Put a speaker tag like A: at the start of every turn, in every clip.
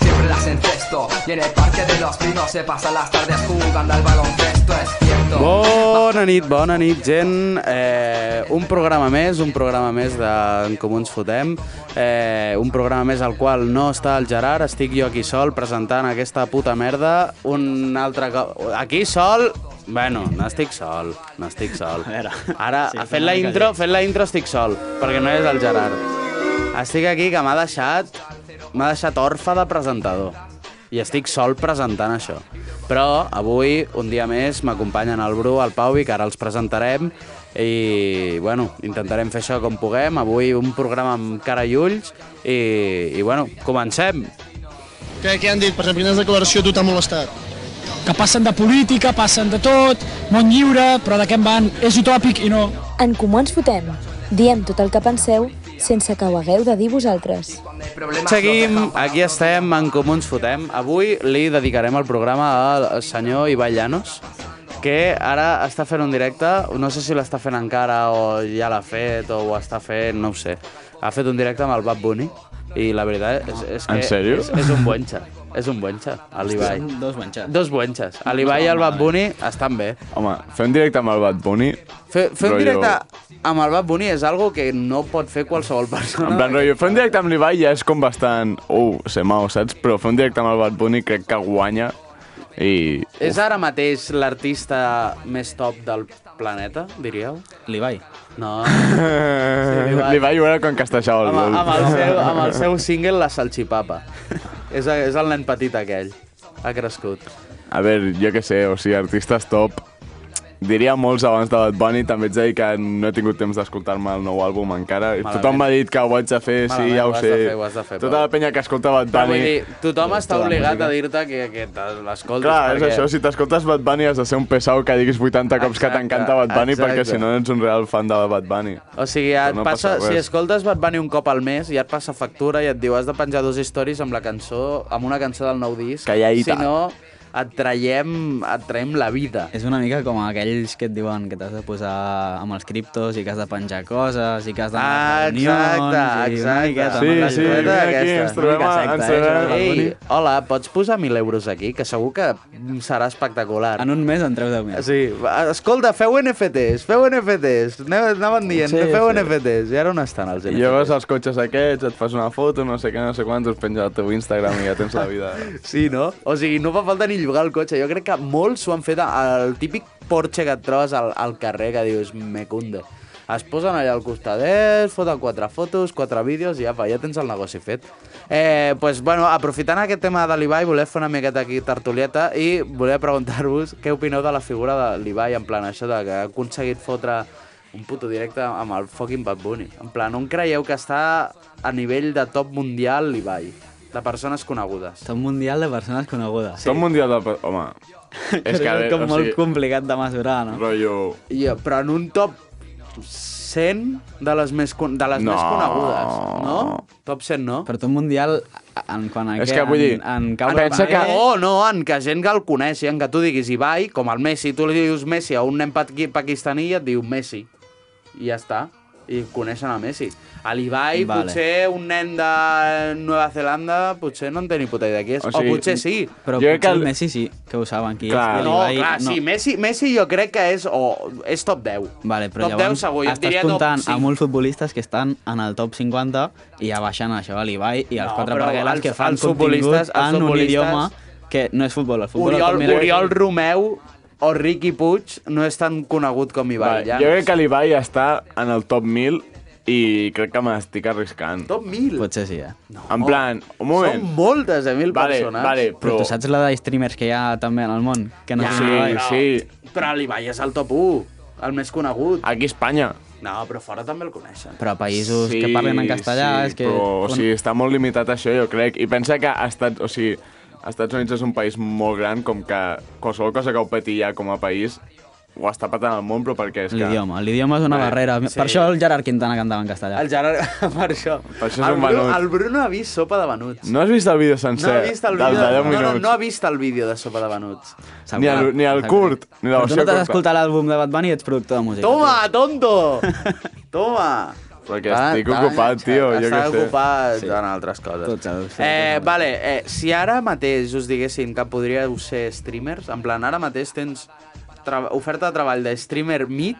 A: Siempre las encesto. Y en el parque de los pinos se pasan las tardes jugando al baloncesto, es cierto.
B: Bona nit, bona nit, gent. Eh, un programa més, un programa més de En Comú Ens Fotem. Eh, un programa més al qual no està el Gerard, estic jo aquí sol presentant aquesta puta merda. Un altre cop... Aquí sol... Bueno, no estic sol, no estic sol.
C: A veure.
B: Ara,
C: Sí,
B: sí,
C: una
B: fent la
C: mica
B: intro,
C: lleig.
B: fent la intro estic sol, perquè no és el Gerard. Estic aquí que m'ha deixat... M'ha deixat orfa de presentador. I estic sol presentant això. Però avui, un dia més, m'acompanyen el Bru, el Pau i que ara els presentarem. I, bueno, intentarem fer això com puguem. Avui un programa amb cara i ulls. I, i bueno, comencem.
D: Què, què han dit? Per exemple, quines declaracions tu t'ha molestat?
E: que passen de política, passen de tot, món lliure, però de què en van? És utòpic i no.
F: En Comú Ens Fotem. Diem tot el que penseu sense que ho hagueu de dir vosaltres.
A: Cuando hay problemas, los
B: Seguim,
A: dejan
B: aquí estem, en Comú ens fotem. Avui li dedicarem el programa al senyor Ibai Llanos, que ara està fent un directe, no sé si l'està fent encara o ja l'ha fet o ho està fent, no ho sé. Ha fet un directe amb el Bad Bunny i la veritat és, és que
G: En sèrio?
B: és, és un buenxa, és un buenxa, l'Ibai.
C: Són Dos manxats.
B: Dos buenxes. A l'Ibai i el Bad Bunny estan bé.
G: Home, fer un directe amb el Bad Bunny,
B: Fer, fer un
G: Rotllo-
B: directe amb el Bad Bunny és algo que no pot fer qualsevol persona.
G: en plan rotllo, fer un directe amb l'Ibai ja és com bastant... Uh, ser mau, saps? Però fer un directe amb el Bad Bunny crec que guanya i...
B: És ara mateix l'artista més top del planeta, diríeu?
C: L'Ibai.
B: No. l'Ibai.
G: L'Ibai ho era quan castejava el
B: Amb,
G: gol.
B: amb, el seu, amb el seu single La Salchipapa. és, és el nen petit aquell. Ha crescut.
G: A veure, jo què sé, o sigui, artistes top... Diria molts abans de Bad Bunny, també ets a dir que no he tingut temps d'escoltar-me el nou àlbum encara.
B: Malament.
G: Tothom m'ha dit que ho haig de fer,
B: Malament,
G: sí, ja
B: ho
G: ho,
B: has
G: sé.
B: de fer, ho has de fer,
G: Tota
B: Pau.
G: la penya que escolta Bad
B: Però
G: Bunny...
B: vull dir, tothom
G: tota
B: està
G: la
B: obligat a
G: música.
B: dir-te que, que te l'escoltis.
G: Clar, és això, si t'escoltes Bad Bunny has de ser un pesau que diguis 80 cops que
B: Exacte,
G: t'encanta Bad Bunny
B: exacte.
G: perquè si no no ets un real fan de Bad Bunny.
B: O sigui, ja et
G: Però no
B: passa,
G: passa res.
B: si escoltes Bad Bunny un cop al mes, ja et passa factura i et diu has de penjar dos stories amb la cançó, amb una cançó del nou disc.
G: Calladita.
B: Si no, et traiem, et traiem la vida.
C: És una mica com aquells que et diuen que t'has de posar amb els criptos i que has de penjar coses i que has d'anar a
B: Ah,
C: reunions...
B: exacte,
C: i una
B: exacte.
C: miqueta,
G: Sí,
C: una
G: sí,
C: miqueta
G: vine aquí,
C: aquesta.
G: ens trobem
C: Una
G: a-
C: mica secta,
G: ens
C: eh,
G: trobem a-
C: això del Bad
B: Ei,
C: Bunny.
B: hola, pots posar 1.000 euros aquí? Que segur que mm, serà espectacular.
C: En un mes en treus 10.000.
B: Sí, va, escolta, feu NFTs, feu NFTs. Aneu- Anaven dient,
C: Sí,
B: feu
C: sí.
B: NFTs. I ara on estan els
G: I
B: NFTs?
G: lleves els cotxes aquests, et fas una foto, no sé què, no sé quants, us penja al teu Instagram i ja tens la vida.
B: Sí, no? O sigui, no fa falta ni llogar el cotxe. Jo crec que molts ho han fet al típic Porsche que et trobes al, al carrer que dius, me cunde. Es posen allà al costadet, foten quatre fotos, quatre vídeos i apa, ja tens el negoci fet. Eh, pues, bueno, aprofitant aquest tema de l'Ibai, voler fer una miqueta aquí tertulieta i voler preguntar-vos què opineu de la figura de l'Ibai, en plan això de que ha aconseguit fotre un puto directe amb el fucking Bad Bunny. En plan, on creieu que està a nivell de top mundial l'Ibai? De persones conegudes.
C: Són mundial de persones conegudes.
G: Tot mundial de... pe- Home, és que a
C: com
G: veure, o
C: molt
G: sigui,
C: complicat de mesurar, no?
G: rotllo...
B: Ja, però en un top 100 de les més, con- de les
G: No.
B: més conegudes, no? Top 100 no?
C: Però tot mundial, en quan a
G: És
C: què,
G: que vull
C: en,
G: dir,
C: en cau
G: pensa
C: de
G: que-
C: parer,
B: Oh, no, en que gent que el coneixi, en que tu diguis Ibai, com el Messi, tu li dius Messi a un nen paqui- pakistaní i et diu Messi. I ja està. I coneixen a Messi. A l'Ibai,
C: Vale.
B: vale. potser un nen de Nova Zelanda, potser no en té ni puta idea qui és.
G: O
B: O,
G: sigui,
B: o potser sí.
C: Però
G: Jo crec
C: potser
G: que
C: el
G: el-
C: Messi sí, que ho saben qui
G: Clar.
C: és. i
B: No,
C: l'Ibai
B: clar,
C: no.
B: sí, Messi, Messi jo crec que és, o, és top 10.
C: Vale,
B: top
C: però llavors
B: 10 segur, jo et
C: estàs
B: diria top
C: comptant
B: 5.
C: a molts futbolistes que estan en el top 50 i ja baixen això a l'Ibai i els
B: No,
C: quatre
B: però
C: parguelars
B: els-
C: que fan
B: els futbolistes-
C: contingut
B: els
C: en un
B: futbolistes-
C: idioma que no és futbol. El futbol
B: Oriol,
C: el
B: Oriol Romeu o Ricky Puig no és tan conegut com Ibai.
G: Vale,
B: Vale,
G: jo crec que l'Ibai està en el top 1000 i crec que m'estic arriscant.
B: Top 1.000.
C: Potser sí, eh? No.
G: En plan, un moment.
B: Són moltes de 1.000
G: Vale,
B: persones.
G: vale,
C: Però
G: però...
C: tu saps la de streamers que hi ha també en el món? Que no
B: Ja,
C: són
G: sí,
C: Ibai?
B: Ah, però-
G: sí. Ah.
B: Però l'Ibai és el top 1, el més conegut.
G: Aquí a Espanya.
B: No, però fora també el coneixen.
C: Però a països que parlen en castellà
G: sí,
C: és que...
G: Però, o sigui, està molt limitat això, jo crec. I pensa que ha estat... O sigui, els Estats Units és un país molt gran, com que qualsevol cosa que ho peti ja com a país ho està patant al món, però perquè és que...
C: L'idioma. L'idioma és una
G: Bé,
C: barrera.
B: sí.
C: Per això el Gerard Quintana cantava en castellà.
B: El Gerard, per això.
G: Per això és
B: el,
G: un
B: Bru-
G: venut.
B: el Bruno ha vist sopa de venuts.
G: No has vist el vídeo sencer?
B: No ha vist el
G: del
B: vídeo,
G: de
B: de,
G: 10
B: no, no,
G: minuts.
B: no ha vist el vídeo de sopa de venuts.
C: S'ha
G: Ni el-
C: acabat,
G: ni el
C: s'ha
G: curt,
C: acabat.
G: ni la
C: Però tu
G: versió
C: no t'has
G: curta.
C: escoltat l'àlbum de Bad Bunny i ets productor de música.
B: Toma, tonto! Toma!
G: Perquè
B: Ah,
G: estic
B: ah,
G: ocupat, tio, jo
B: Està
G: què sé.
B: ocupat
C: Sí.
B: en altres coses.
C: Tots els-
B: eh, vale, eh, si ara mateix us diguessin que podríeu ser streamers, en plan, ara mateix tens tra- oferta de treball de streamer mig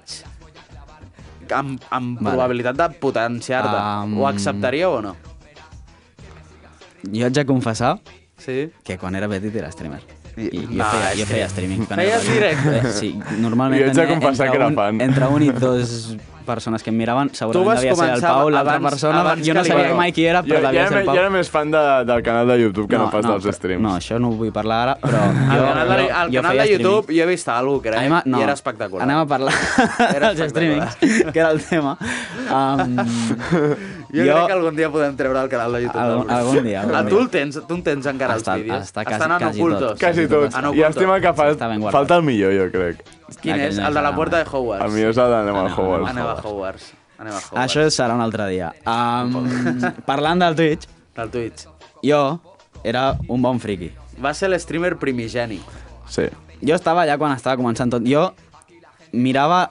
B: amb, amb
C: Vale.
B: vale. probabilitat de potenciar-te.
C: Am.
B: Ho acceptaríeu o no?
C: Jo haig de confessar
B: Sí?
C: que quan era petit era streamer. I, i jo,
B: No,
C: feia,
B: és
C: jo
B: que-
C: feia streaming. quan
B: Feies
C: petit.
B: directe?
C: Eh, Sí, normalment
G: Jo haig de
C: tenia
G: confessar
C: entre
G: que era
C: un,
G: fan.
C: Entre un i dos persones que em miraven,
B: Tu vas
C: segurament devia ser el
B: començar
C: Pau, l'altra
B: abans-
C: persona.
B: abans
C: jo
B: que
C: no
B: li-
C: sabia
B: Bueno,
C: mai qui era,
G: Jo,
C: però
G: jo,
C: devia
G: era,
C: ser
G: me-
C: el Pau.
G: jo era més fan de, del canal de YouTube que no, pas dels
C: però-
G: streams.
C: No, això no ho vull parlar ara, però...
B: Al
C: jo,
B: canal de,
C: jo-
B: al
C: jo
B: canal
C: feia
B: de
C: streaming.
B: YouTube jo he vist alguna cosa, crec,
C: Anem a, no,
B: i era espectacular.
C: Anem a parlar
B: Era
C: dels
B: espectacular.
C: streamings, que era el tema. Um,
B: Jo, jo crec que algun dia podem treure el canal de YouTube.
C: Algun-
B: del Bruno.
C: algun dia, algun
B: Ah, tu
C: dia.
B: el tens, tu en tens encara
C: Està-
B: els vídeos.
C: està
B: Estan en
C: quasi- quasi
B: ocultos.
C: tot.
G: Quasi tots.
B: En
G: I
B: oculto.
G: estima que fa,
C: Està ben guardat.
G: falta el millor, jo crec.
B: Quin és?
C: Aquell
B: El de la
C: no
B: puerta de Hogwarts.
G: El millor és el d'Animal
C: Ah, Anem- Ah,
G: Hogwarts.
B: Anem a Hogwarts. Anem a Hogwarts.
C: Això serà un altre dia. Um, parlant del Twitch,
B: Del Twitch.
C: jo era un bon friqui.
B: Va ser l'streamer primigeni.
G: Sí.
C: Jo estava allà quan estava començant tot. Jo mirava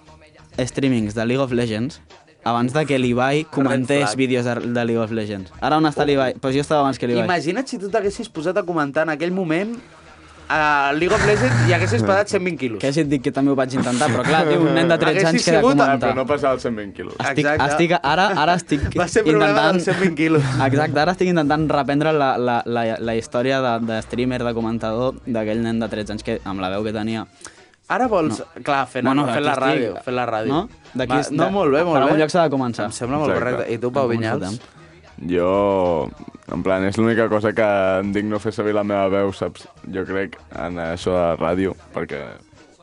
C: streamings de League of Legends abans de que l'Ibai
B: Red
C: comentés
B: flag.
C: vídeos de, de League of Legends. Ara on està l'Ibai? Però jo estava abans que l'Ibai.
B: Imagina't si tu t'haguessis posat a comentar en aquell moment a League of Legends i haguessis
G: Eh.
B: pesat 120 quilos.
C: Que si et dic que també ho vaig intentar, però clar, tio, un nen de 13 anys
B: Haguessis
C: que era
B: sigut-
G: Ah,
C: comentar.
G: però no passava els 120 quilos.
C: Estic,
B: Exacte.
C: estic, ara, ara estic
B: Va ser problema dels 120 quilos.
C: Exacte, ara estic intentant reprendre la, la, la, la història de, de streamer, de comentador, d'aquell nen de 13 anys que amb la veu que tenia.
B: Ara vols... No. Clar, fent, bueno, fent la
C: aquí estic.
B: ràdio. Fent la ràdio.
C: No? D'aquí
B: Va,
C: és-
B: no,
C: de-
B: molt bé, molt
C: per
B: bé.
C: algun lloc s'ha de començar.
B: Em sembla molt
G: Exacte.
B: correcte. I tu, Pau
C: Com ens
B: Vinyals?
G: Jo, en plan, és l'única cosa que em dic no fer servir la meva veu, saps? Jo crec en això de la ràdio, perquè...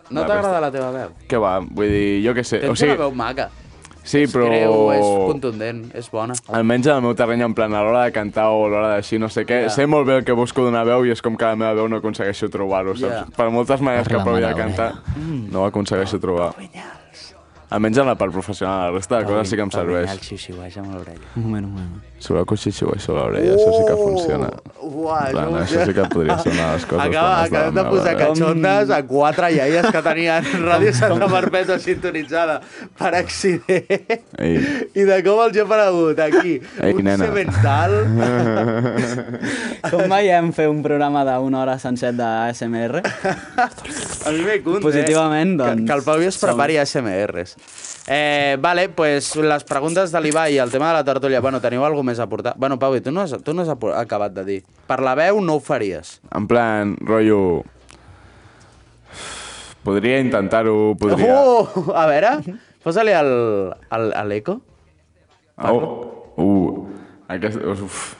B: No t'agrada la teva veu?
G: Què va? Vull dir, jo què sé.
B: Tens
G: O sigui,
B: una veu maca.
G: sí, però...
B: És greu, és contundent, és bona.
G: Almenys en el meu terreny, en plan, a l'hora de cantar o a l'hora d'així, no sé què,
B: Ja.
G: yeah. sé molt bé el que busco d'una veu i és com que la meva veu no aconsegueixo trobar-ho, saps?
B: Ja. Mm.
G: Per moltes maneres que
C: Parla
G: provi de
C: mala
G: cantar, no ho aconsegueixo trobar. Almenys en la part professional, la resta de coses sí que em serveix.
B: xiu-xiueix amb l'orella.
C: Un moment, un moment.
G: Sudoku xixiu això a l'orella, això
B: Oh!
G: sí que funciona.
B: Uah,
G: En plan, això sí que podria ser una de les coses
B: Acaba,
G: bones de la
B: acabem de
G: meva
B: posar
G: vida.
B: catxondes a quatre iaies que tenien Ràdio Santa Perpètua sintonitzada per accident.
G: Ei.
B: I de com els he aparegut aquí.
G: Ei,
B: un
G: nena.
B: semental.
C: Com veiem fer un programa d'una hora sencer d'ASMR?
B: A mi me cunt,
C: Positivament,
B: eh? Doncs Que-
C: doncs,
B: Que, el Pau es prepari ASMRs. Eh, vale, pues les preguntes de l'Ibai i el tema de la tertúlia. Bueno, teniu alguna més a aportar? Bueno, Pau, i tu no has, tu no has apo- acabat de dir. Per la veu no ho faries.
G: En plan, rotllo... Podria intentar-ho, podria...
B: Uh, a veure, posa-li al- al- a l'eco.
G: Oh, uh, aquest, uf.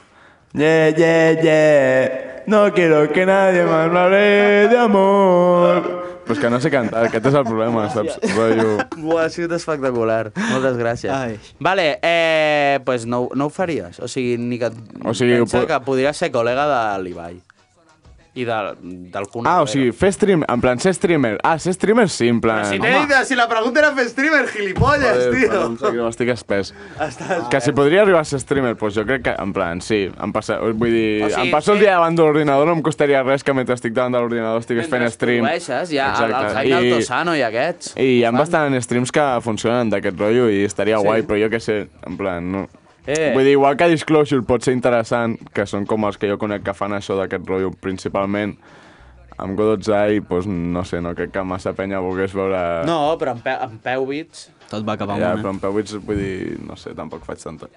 G: Yeah, yeah, yeah. No quiero que nadie me hable de amor. Pues que no sé cantar, aquest és el problema, saps? Rollo...
B: Buah, ha sigut espectacular. Moltes gràcies.
C: Ai.
B: Vale, eh, pues no, ho- no ho faries. O sigui, ni que...
G: O sigui,
B: pensa
G: ho po-
B: que podria ser col·lega de l'Ibai. I de, del Kun
G: Ah, o
B: Agüero.
G: sigui, fer stream, en plan, ser streamer. Ah, ser streamer sí, en plan...
B: Si, t'he dit, si la pregunta era fer streamer, gilipolles,
G: Joder,
B: tio.
G: perdó, em sap greu, estic espès. Que si podria arribar a ser streamer, doncs jo crec que, en plan, sí, em passa, vull dir,
B: O sigui, eh,
G: em passo el
B: sí.
G: dia davant de l'ordinador, no em costaria res que mentre estic davant de l'ordinador estigués fent stream.
B: Mentre ja, el, el
G: Exacte.
B: Jaime
G: I-
B: Altozano i aquests.
G: I hi ha bastant streams que funcionen d'aquest rotllo i estaria sí. guai, però jo què sé, en plan, no.
B: Eh.
G: Eh. Vull dir, igual que Disclosure pot ser interessant, que són com els que jo conec que fan això d'aquest rotllo principalment, amb Go12i, doncs, no sé, no crec que massa penya volgués veure...
B: No, però en, pe en peu bits...
C: Tot va cap
G: Ja,
C: amunt,
G: però
C: eh?
G: en Pewits, vull dir, no sé, tampoc faig tanta...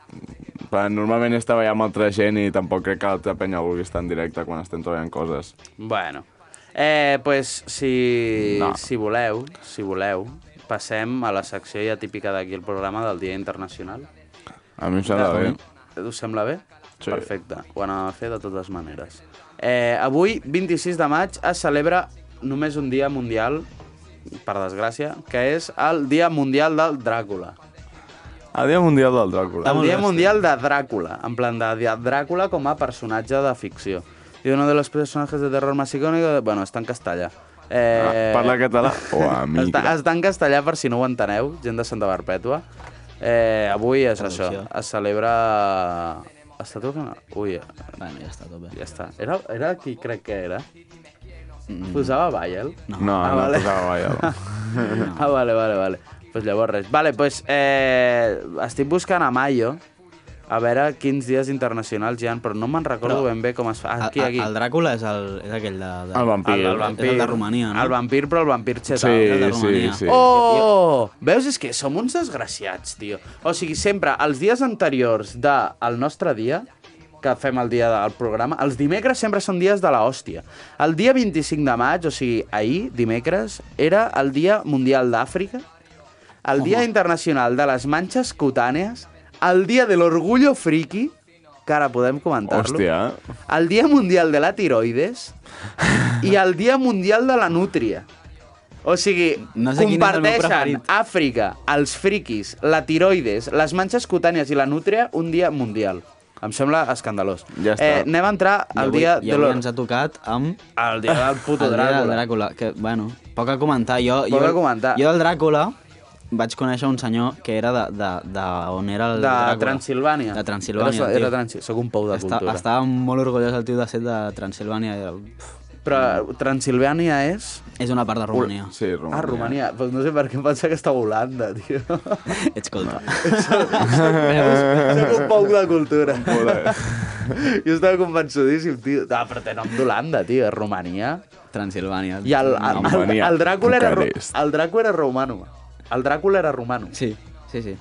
G: Però normalment és treballar amb altra gent i tampoc crec que l'altra penya vulgui estar en directe quan estem treballant coses.
B: Bueno. Eh, pues, si, no.
G: No.
B: si voleu, si voleu, passem a la secció ja típica d'aquí el programa del Dia Internacional.
G: A mi em sembla bé.
B: Us sembla bé?
G: Sí.
B: Perfecte. Ho anàvem a fer de totes maneres. Eh, avui, 26 de maig, es celebra només un dia mundial, per desgràcia, que és el Dia Mundial del Dràcula.
G: El Dia Mundial del Dràcula.
B: El Dia Mundial de Dràcula, en plan de, de Dràcula com a personatge de ficció. Y uno de los personajes de terror más icónico, bueno, está en castellà.
G: Ah,
B: Eh,
G: parla eh. català Oh, o a mi.
B: Està, està en castellà per si no ho enteneu, gent de Santa Barpètua. Eh, avui és
C: Traducció.
B: això, es celebra... Està trucant? Ui,
C: Bueno, ja està, a tope.
B: ja està. Era, era qui crec que era? Posava Bayel?
G: Mm. No, no,
B: Ah, vale.
G: posava ballar.
B: Ah, vale, vale, vale. Pues llavors res. Vale, pues eh, estic buscant a Mayo a veure quins dies internacionals hi ha, però no me'n recordo
C: Però-
B: ben bé com es fa. Aquí,
C: El-
B: aquí.
C: El, el Dràcula és, el, és aquell de... de...
G: El vampir.
B: El, el
G: És
B: vampir.
C: És el de Romania, no?
B: El vampir, però el vampir xetal.
G: Sí, sí,
C: Romania.
G: sí.
B: Oh! Veus, és que som uns desgraciats, tio. O sigui, sempre, els dies anteriors del el nostre dia, que fem el dia del programa, els dimecres sempre són dies de la hòstia. El dia 25 de maig, o sigui, ahir, dimecres, era el Dia Mundial d'Àfrica, el Dia Internacional de les Manxes Cutànees, el Dia de l'Orgullo Friki, que ara podem comentar-lo,
G: Hòstia.
B: el Dia Mundial de la Tiroides i el Dia Mundial de la Nútria. O sigui,
C: No sé quin és el meu
B: comparteixen
C: preferit.
B: Àfrica, els friquis, la tiroides, les manxes cutànies i la nútria un dia mundial. Em sembla escandalós.
G: Ja està.
B: Eh, anem a entrar
C: I
B: al
C: avui,
B: dia
C: i
B: de
C: avui
B: l'or...
C: ens ha tocat amb...
B: El dia del puto
C: el dia del
B: Dràcula.
C: Dràcula. Que, bueno, poc a comentar. Jo,
B: Poc
C: jo,
B: a comentar.
C: Jo del Dràcula vaig conèixer un senyor que era de, de, de on era el
B: De
C: Dràcula.
B: Transilvània.
C: De Transilvània.
B: Era,
C: el
B: era
C: tio.
B: Transil... Soc un pou de
C: Està,
B: cultura.
C: estava molt orgullós el tio de ser de Transilvània. Pff,
B: Però Transilvània és...
C: És una part de Romania.
G: Sí, Romania.
B: Ah, Romania. Pues no sé per què em pensa que està a Holanda, tio.
C: Ets culpa.
B: Soc un poc de cultura.
G: Hola.
B: Jo estava convençudíssim, tio. Ah, però té nom d'Holanda, tio, és Romania.
C: Transilvània.
B: I el, el, el,
G: Romania,
B: el, Dràcula era, ro-
G: Bucarest.
B: el Dràcula era romano. El Dràcula era romano.
C: Sí, sí, sí.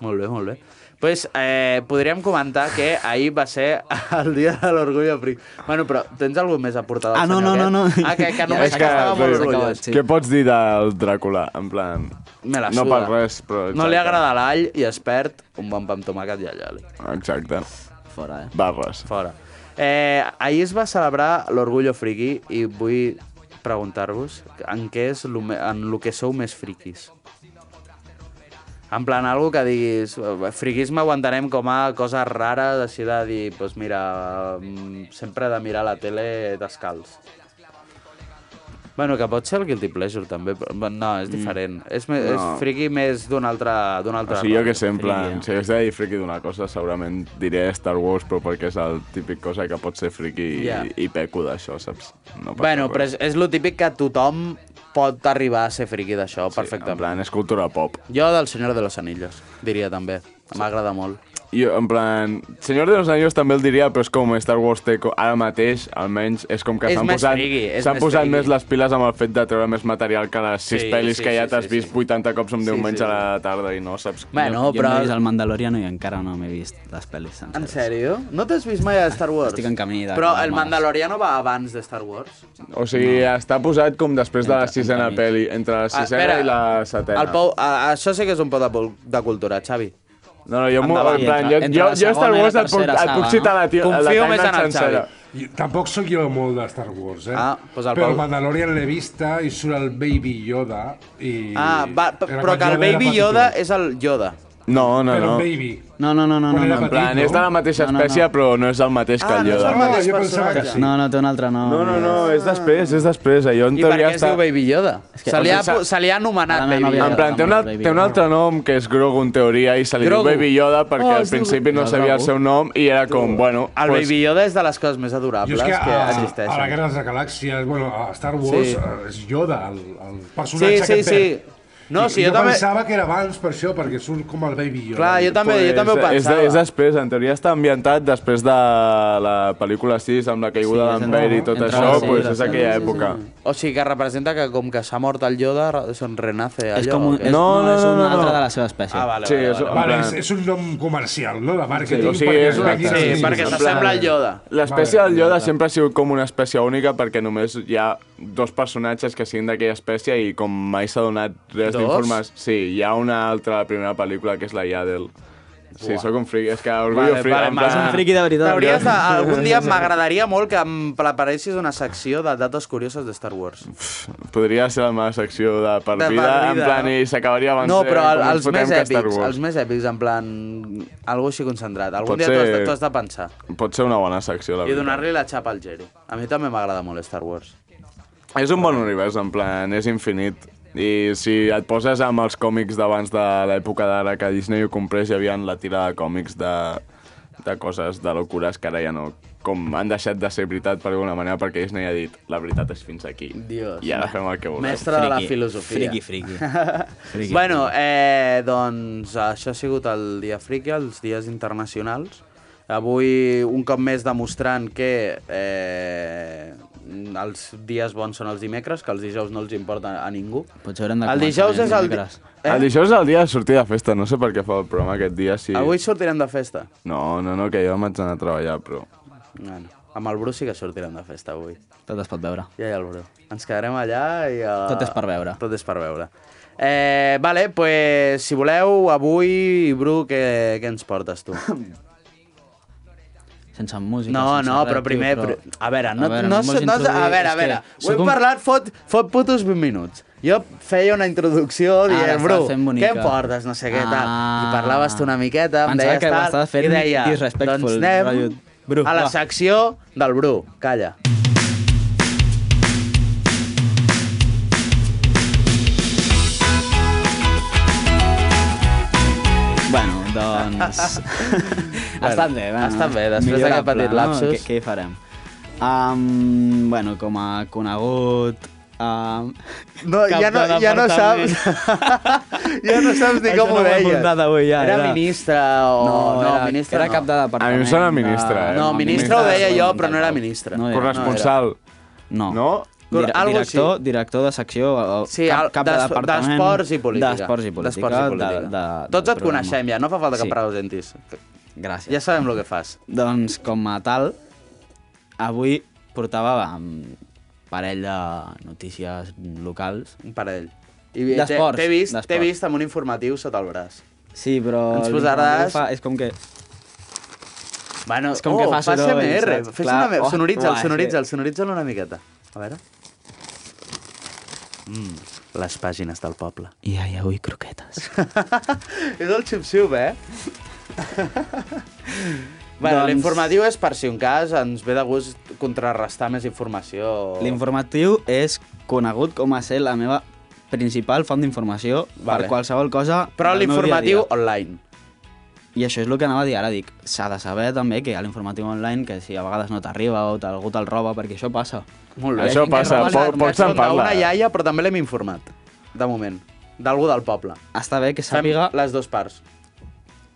B: Molt bé, molt bé. Pues, eh, podríem comentar que ahir va ser el dia de l'orgull africà. Bueno, però tens alguna més a portar del
C: Ah, no,
B: senyor
C: no, no,
B: aquest?
C: no.
B: Ah, que, que
C: Ja,
B: només
C: és
B: que,
C: que,
B: estava
C: sí,
B: molt
C: s'ha acabat,
B: orgullós.
C: sí.
G: Què pots dir del Dràcula? En plan...
B: Me la
G: no
B: suda.
G: per res, però... Exacte.
B: No li agrada l'all i es perd un bon pa amb tomàquet i allà.
G: Exacte.
C: Fora, eh?
G: Barres.
B: Fora. Eh, ahir es va celebrar l'Orgullo Friki i vull preguntar-vos en què és lo, me- en lo que sou més friquis. En plan, algo que diguis... eh, Friquisme ho entenem com a coses rares, així de dir, doncs mira, mm, sempre de mirar la tele descalç. Bueno, que pot ser el Guilty Pleasure, també. Però, bueno, no, és diferent. Mm. És, me, no. és friqui més d'un altre... d'un
G: O
B: altre
G: sigui, jo
B: rotllo.
G: que sé, en plan, si hagués de dir friki d'una cosa, segurament diré Star Wars, però perquè és el típic cosa que pot ser friki i,
B: Ja.
G: i peco d'això, saps? No passa
B: Bueno,
G: res.
B: però és, és lo típic que tothom pot arribar a ser friqui d'això, sí,
G: En
B: perfectament.
G: plan, és cultura pop.
B: Jo del Senyor de los Anillos, diria també. M'agrada molt.
G: I en plan, Senyor de los Anillos també el diria, però és com Star Wars té, co- ara mateix, almenys, és com que
B: És
G: s'han
B: més
G: posat,
B: friki, és
G: s'han
B: més
G: posat
B: friki.
G: més les piles amb el fet de treure més material que les sis
B: Sí,
G: pel·lis
B: sí,
G: que ja
B: sí,
G: t'has
B: sí,
G: vist
B: sí.
G: 80 cops un diumenge a la tarda i no saps...
B: Bueno,
C: jo,
B: però...
C: Jo m'he vist el Mandaloriano i encara no m'he vist les pel·lis senceres.
B: En sèrio? No t'has vist mai a Star Wars?
C: Estic en camí de-
B: Però
C: de-
B: el Mandaloriano va abans de Star Wars?
G: O sigui, no. està posat com després de la
C: Entre-
G: sisena
C: entremig.
G: pel·li, entre la
B: Ah,
G: sisena
B: espera.
G: i la setena.
B: El Pou, a, això sí que és un pou de, pol- de cultura, Xavi.
G: No, no, jo, m'ho-
C: Endavant.
G: en plan, jo,
C: Entre- entre
G: jo,
C: la
G: jo Star
C: segona i la
G: Wars et puc,
C: tercera
G: et
C: saga,
G: puc citar
C: no?
G: la, Ah, tio,
B: Confio
G: la
B: més en
G: tenda
B: el
G: sencera.
B: Xavi.
H: Jo- Tampoc sóc jo molt de Star Wars, eh?
B: Ah, doncs el
H: Però
B: Pau.
H: el Mandalorian l'he vista i surt el Baby Yoda i...
B: Ah, va, p-
H: Era
B: però
H: quan
B: que el
H: jo era
B: Baby
H: petitó.
B: Yoda és el Yoda.
G: No, no,
H: Però
G: no.
H: el Baby.
C: No, no, no, no,
H: Quan
C: no,
H: era
C: no.
G: En plan,
H: petit,
G: és de la mateixa
C: No, no,
G: espècie, però no és el mateix que el
B: no és
G: Yoda.
B: el
H: Ah,
B: mateix
H: jo pensava que
B: personatge.
H: sí.
C: No, no, té un altre nom.
G: No, no, no, és després, és després. eh, Jo en
B: I per
G: teoria
B: què es
G: està...
B: diu Baby Yoda? Se li ha, pu- se li ha anomenat
C: A la meva
B: Baby
C: nòvia
B: Yoda.
G: En plan, té, una, té un altre nom que és Grogu en teoria i se li diu
B: Grogu.
G: Baby Yoda perquè
B: Oh,
G: al
B: es diu-
G: principi no
C: No,
G: sabia el
C: Grogu.
G: seu nom i era com, bueno,
B: El
G: pues,
B: Baby Yoda és de les coses més adorables
H: Jo és que
B: que,
H: a, a la
B: existeixen.
H: Guerra de les Galàxies, bueno, a Star Wars,
B: Sí.
H: eh, és Yoda, el, el
B: Sí,
H: personatge
B: sí,
H: que
B: sí.
H: perd.
B: No,
H: I-
B: sí,
H: jo,
B: jo també...
H: pensava que era abans per això, perquè surt com el Baby Yoda.
B: Clar, jo també,
G: pues,
B: jo també ho
G: és,
B: pensava.
G: de- és després, en teoria està ambientat després de la pel·lícula 6 amb la caiguda
C: Sí, és
G: d'en Vader i tot
C: entre
G: això,
C: les
G: pues, és
C: seves,
G: aquella
C: sí, sí,
G: època.
B: O sigui que representa que com que s'ha mort el Yoda, re- se'n renace allò.
C: És com un,
B: o què?
C: és,
G: No, no,
C: és
G: no,
C: un
G: no,
C: altre
G: no.
C: de la seva espècie.
B: Ah, vale,
G: Sí,
B: vale,
G: és-
B: vale.
H: Vale,
G: en
H: és,
G: plan-
H: és un nom comercial, no?, de màrqueting.
G: Sí, o sigui,
H: perquè
G: és
H: es
G: una-
H: venguin els
G: sí,
H: ninis.
B: perquè s'assembla al Yoda.
G: L'espècie
H: Vale.
G: del Yoda sempre ha sigut com una espècie única perquè només hi ha dos personatges que siguin d'aquella espècie i com mai s'ha donat res
B: Dos?
G: d'informació... Sí, hi ha una altra, la primera pel·lícula, que és la Yaddle, Sí, sóc un friqui. És que orgullo
C: Vale,
G: friqui.
C: vale,
G: en
C: vas
G: plan-
C: un friqui de veritat.
B: T'hauries de, algun dia m'agradaria molt que em preparessis una secció de dates curioses de Star Wars.
G: Podria ser la meva secció de per,
B: De per
G: vida, en
B: vida.
G: plan, i s'acabaria abans
B: No,
G: de
B: però el, els
G: com ens fotem
B: més
G: que Star
B: èpics,
G: Wars.
B: els més èpics, en plan, algo així concentrat. Algun
G: Pot
B: dia t'ho has de-
G: ser-
B: t'ho has de pensar.
G: Pot ser una bona secció, la
B: I
G: veritat.
B: donar-li la xapa al Jero. A mi també m'agrada molt Star Wars.
G: És un bon univers, en plan, és infinit. I si et poses amb els còmics d'abans de l'època d'ara que Disney ho comprés, hi havia la tira de còmics de, de coses, de locures que ara ja no... Com han deixat de ser veritat per alguna manera perquè Disney ha dit la veritat és fins aquí.
B: Dios.
G: I ara fem el que volem.
B: Mestre de la filosofia.
C: Friqui, friqui. friqui.
B: Bueno, eh, doncs això ha sigut el Dia Friki, els dies internacionals. Avui, un cop més demostrant que eh, els dies bons són els dimecres, que els dijous no els importa a ningú.
C: Potser haurem de
B: El dijous
C: començar
B: és el... di-
C: dimecres.
B: Eh?
G: El dijous és el dia de sortir de festa, no sé per què fa el programa aquest dia. Si...
B: Avui sortirem de festa.
G: No, no, no, que jo m'haig d'anar a treballar, però...
B: Bueno, amb el Bru sí que sortirem de festa avui.
C: Tot es pot veure.
B: Ja, ja, el Bru. Ens quedarem allà i... A...
C: Tot és per veure.
B: Tot és per veure. Eh, vale, pues, si voleu, avui, Bru, què, què ens portes tu?
C: Sense música,
B: No,
C: sense
B: no,
C: res,
B: però
C: tio,
B: primer... Però... A veure, no, no, no,
C: em
B: no, no,
C: vols
B: a veure,
C: introduir-
B: a
C: és que
B: veure. Ho
C: soc
B: hem
C: un-
B: parlat fot, fot putos 20 minuts. Jo feia una introducció dient,
C: estàs
B: bro,
C: fent bonica."
B: què em portes, no sé què, tal. I
C: Ah.
B: parlaves tu una miqueta, em
C: Pensava
B: deies
C: que ho
B: tal,
C: estaves fent
B: i deia,
C: disrespectful,
B: doncs anem
C: rotllo, "Bru,
B: a la
C: va."
B: secció del Bru. Calla.
C: Bueno, doncs... estan bé, bueno.
B: estan bé, després
C: Millorable,
B: d'aquest petit lapsus.
C: No? Què, què hi farem? Um, bueno, com a conegut... Um,
B: No, ja no, ja no saps... ja no saps ni
C: Això
B: com ho
C: no ho he
B: deies.
C: apuntat avui, ja,
B: era,
C: era-
B: ministre o... No, no ministre
C: era
B: no.
C: cap de departament.
G: A mi em sona
C: de-
G: ministra, eh?
B: No, ministre ho deia jo, però no era ministre.
C: No era.
G: Corresponsal.
C: No.
G: No?
B: Cor-
C: Dir
B: algo
C: director, director de secció, o- o
B: Sí,
C: cap,
B: cap,
C: cap de
B: d'es-
C: departament...
B: d'esports i política.
C: D'esports i política.
B: D'esports i política.
C: De, de, del
B: Tots et
C: programa.
B: coneixem ja, no fa falta que
C: Sí,
B: sí. presentis.
C: Gràcies.
B: Ja sabem el que fas.
C: Doncs com a tal, avui portava un parell de notícies locals.
B: Un parell. I
C: D'esports,
B: T'he vist, t'he
C: d'esports.
B: vist amb un informatiu sota el braç.
C: Sí, però...
B: Ens
C: el
B: posaràs-
C: informatiu Fa, és com que...
B: Bueno,
C: És com que fa
B: fas
C: soroll,
B: MR.
C: saps?
B: Fes
C: Clar.
B: una...
C: Oh,
B: Oh, sonoritza'l,
C: uah,
B: sonoritza'l, sonoritza'l una miqueta. A veure. Mm, les pàgines del poble.
C: I ai, avui croquetes.
B: és el xup-xup, eh? bueno,
C: Doncs-
B: l'informatiu és per si un cas ens ve de gust contrarrestar més informació.
C: Oh. L'informatiu és conegut com a ser la meva principal font d'informació
B: Vale.
C: per qualsevol cosa
B: Però
C: del meu
B: l'informatiu
C: dia a dia.
B: online.
C: I això és el que anava a dir ara, dic, s'ha de saber també que hi ha l'informatiu online, que si a vegades no t'arriba o te- algú te'l roba, perquè això passa.
B: Molt
G: Això passa, poc- poc se'n
B: tota
G: parla.
B: Una iaia, però també l'hem informat, de moment, d'algú del poble.
C: Està bé que
B: Fem
C: sàpiga
B: les dues parts.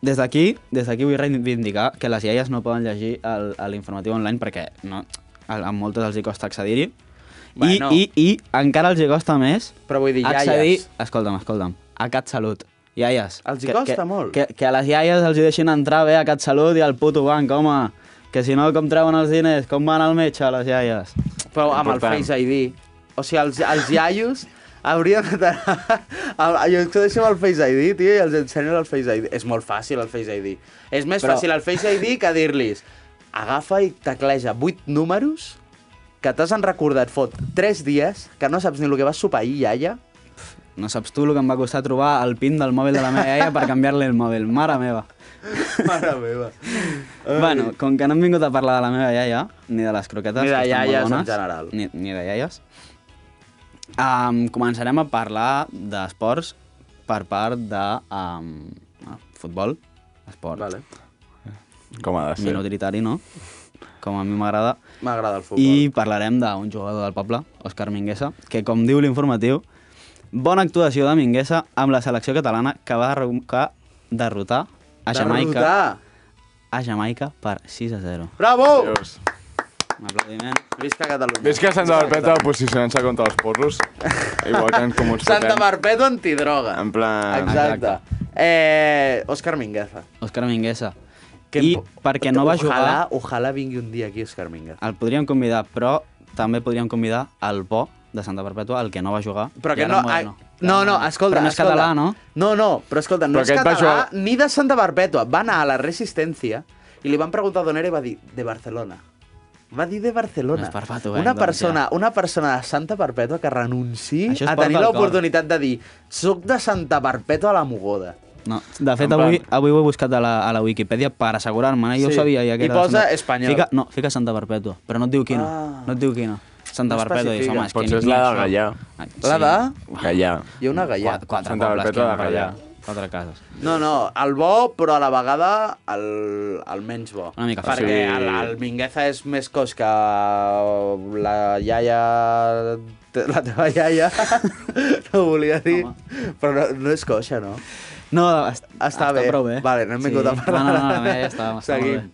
C: Des d'aquí, des d'aquí vull reivindicar que les iaies no poden llegir el- a l'informatiu online perquè no, a, a moltes els hi costa accedir-hi.
B: Bueno.
C: Bueno. I, i, I encara els hi costa més
B: Però vull dir, iaies.
C: accedir... Escolta'm, escolta'm. A CatSalut. Iaies.
B: Els hi costa
C: que,
B: molt.
C: Que, que a les iaies els hi deixin entrar bé a CatSalut i al puto banc, home. Que si no, com treuen els diners? Com van al metge, les iaies?
B: Però amb el
G: Important.
B: Face ID. O sigui, els, els iaios haurien de... tenir- El, jo que deixem el Face ID, tio, i els ensenyen el Face ID. És molt fàcil, el Face ID. És més
C: Però-
B: Però... fàcil el Face ID que dir-los agafa i tecleja vuit números que t'has en recordat fot tres dies, que no saps ni el que vas sopar ahir, iaia,
C: No saps tu el que em va costar trobar el pin del mòbil de la meva iaia per canviar-li el mòbil. Mare meva.
B: Mare meva.
C: Bueno, com que no hem vingut a parlar de la meva iaia, ni de les croquetes,
B: Ni de
C: que estan
B: iaies en
C: molt bones,
B: general.
C: Ni, ni de iaies, um, començarem a parlar d'esports per part de um, futbol, esport
B: Vale.
G: Com ha de ser.
C: minoritari, no? Com a mi m'agrada.
B: M'agrada el futbol.
C: I parlarem d'un jugador del poble, Òscar Minguesa, que com diu l'informatiu, bona actuació de Minguesa amb la selecció catalana que va derrocar, derrotar a Jamaica,
B: Derrotar.
C: a Jamaica per 6 a 0.
B: Bravo!
G: Dios.
C: Un aplaudiment.
B: Visca Catalunya.
G: Ves que Santa Barpeta posicionant-se contra els porros? Igual que en com ens
B: Santa
G: fotem.
B: Barpeto antidroga.
G: En plan...
B: Exacte. Eh, Òscar Mingueza.
C: Òscar Minguesa.
B: Que
C: I
B: em-
C: perquè no va jugar,
B: Ojalà, ojalà vingui un dia aquí Òscar Mingueza.
C: el podríem convidar, però també podríem convidar el bo de Santa Perpètua, el que no va jugar.
B: Però
C: i
B: que
C: ara
B: no,
C: Moreno.
B: a- No, no, escolta,
C: Però no és
B: escolta.
C: català, no?
B: No, no, però escolta, no però
G: Però
B: és
G: aquest va
B: català
G: jugar-
B: ni de Santa Perpètua. Va anar a la Resistència i li van preguntar d'on era i va dir de Barcelona. Va dir de Barcelona.
C: No és Perpètua, eh,
B: una,
C: doncs,
B: persona, una persona de Santa Perpètua que renunciï
C: Això es
B: a
C: porta
B: tenir
C: al cor.
B: l'oportunitat de dir soc de Santa Perpètua a la Mogoda.
C: No, de fet,
G: En
C: avui,
G: plan-
C: avui ho he buscat a la, a la Wikipedia per assegurar-me, eh? jo
B: Sí.
C: ho sabia. Ja que
B: I
C: era de
B: posa
C: Santa-
B: espanyol.
C: Fica, no, fica Santa Perpètua, però no et diu quina.
B: Ah.
C: No et diu quina. Santa
B: No
C: Perpètua, dius,
B: especifica.
C: home, és que...
G: Potser és
C: ni-
G: la
C: ni
G: de
C: això.
G: Gallà.
C: Ah,
B: La de-
G: Gallà.
B: Hi ha una gallà.
C: Quatre, quatre
G: Santa
C: pobles que
G: Perpètua
C: hi ha
G: de
C: per
G: Gallà.
C: allà. Quatre cases.
B: No, no, el bo, però a la vegada el, el menys bo.
C: Una mica fàcil.
B: Perquè
G: Sí.
B: el, el Mingueza és més cos que la iaia... La teva iaia, no ho volia dir. Home. Però no, no és coixa, no?
C: No, est
B: Està, bé.
C: prou bé.
B: Vale, no hem vingut a parlar.
C: No, no, no, no ja està, està
B: Seguim.
C: molt bé.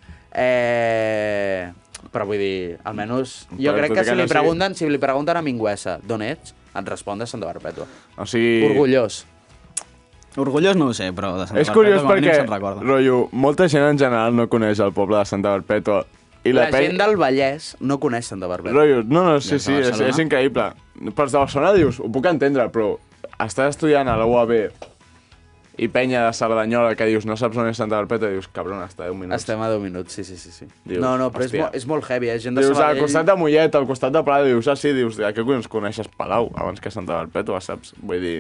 B: Eh, però vull dir, almenys... Jo
G: Però
B: crec
G: tot
B: que
G: i
B: si
G: que no
B: li
G: sigui-
B: pregunten, si li pregunten a Mingueza d'on ets, et respon de Santa Perpètua.
G: O sigui...
B: Orgullós.
C: Orgullós no ho sé, però de Santa
G: És curiós
C: com a mínim
G: perquè,
C: se'n recorda.
G: rotllo, molta gent en general no coneix el poble de Santa Perpètua. I la,
B: La,
G: pe-
B: gent del Vallès no coneix Santa Barbeta.
G: Rotllo, no, no, sí,
C: Des de
G: sí, és,
C: Barcelona.
G: és increïble. Pels de Barcelona dius, ho puc entendre, però estàs estudiant a la UAB i penya de Cerdanyola que dius, no saps on és Santa Perpètua, i dius, cabron, està 10 minuts.
B: Estem a 10 minuts, sí, sí, sí. sí.
G: Dius,
B: no, no, però és,
G: hòstia.
B: mo és molt heavy, eh? Gent de
G: Dius, al
B: Sabadell...
G: costat de Mollet, al costat de Palau, dius, ah, sí, dius, a què collons coneixes Palau abans que Santa Perpètua, saps? Vull dir,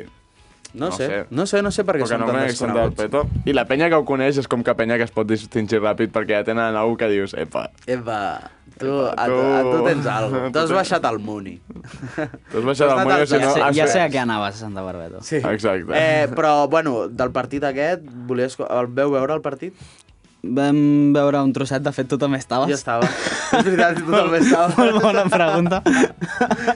B: No,
G: no
B: sé,
G: sé.
B: no sé, no sé per què
G: perquè
B: són
G: no
B: tan
G: coneix Santa
B: desconeguts.
G: Perpètua. I la penya que ho coneix és com que penya que es pot distingir ràpid perquè ja tenen algú que dius, epa,
B: Epa, tu, a, tu,
G: tu-
B: a tu tens alguna cosa.
G: tu
B: Tu has
G: tens-
B: baixat al Muni.
G: t'has baixat
B: T'has
G: al
B: anat al-
G: Mollet, si
C: Ja
G: no...
C: sé,
G: has
C: ja
G: fet-
C: sé a què anaves a Santa Perpètua.
B: Sí.
G: Exacte.
B: Eh, però, bueno, del partit aquest, volies... El veu veure el partit?
C: Vam veure un trosset, de fet, tu també estaves.
B: Jo estava. És veritat, tu també
C: Molt
B: estava.
C: bona pregunta.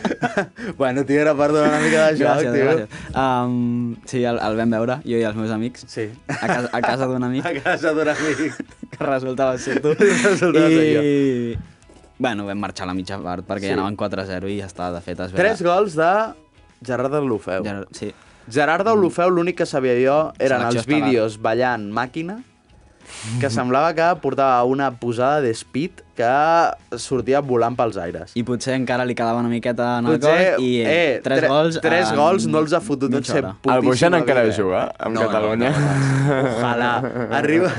B: bueno, tio, era per donar una mica de joc,
C: gràcies,
B: tio.
C: gràcies. Um, sí, el, el vam veure, jo i els meus amics.
B: Sí.
C: A casa, a casa d'un amic,
B: A casa d'un amic.
C: que resultava ser tu.
B: Resultava
C: I... Bueno, vam marxar a la mitja part perquè
B: Sí.
C: ja anaven 4-0 i ja està, de fet, es veia...
B: Tres gols de Gerard Deulofeu.
C: Ja, sí.
B: Gerard Deulofeu, l'únic que sabia jo eren
C: Selecció
B: els vídeos ballant màquina, que semblava que portava una posada de speed que sortia volant pels aires.
C: I potser encara li quedava una miqueta en el
B: Potser,
C: cos i eh, tres
B: tre-
C: gols...
B: tres
C: en
B: gols no els ha fotut en
C: mitja
B: ser
C: hora.
B: putíssima
G: el Boixan encara
B: vida.
G: juga amb Catalunya.
B: No, no, ojalà. Arriba,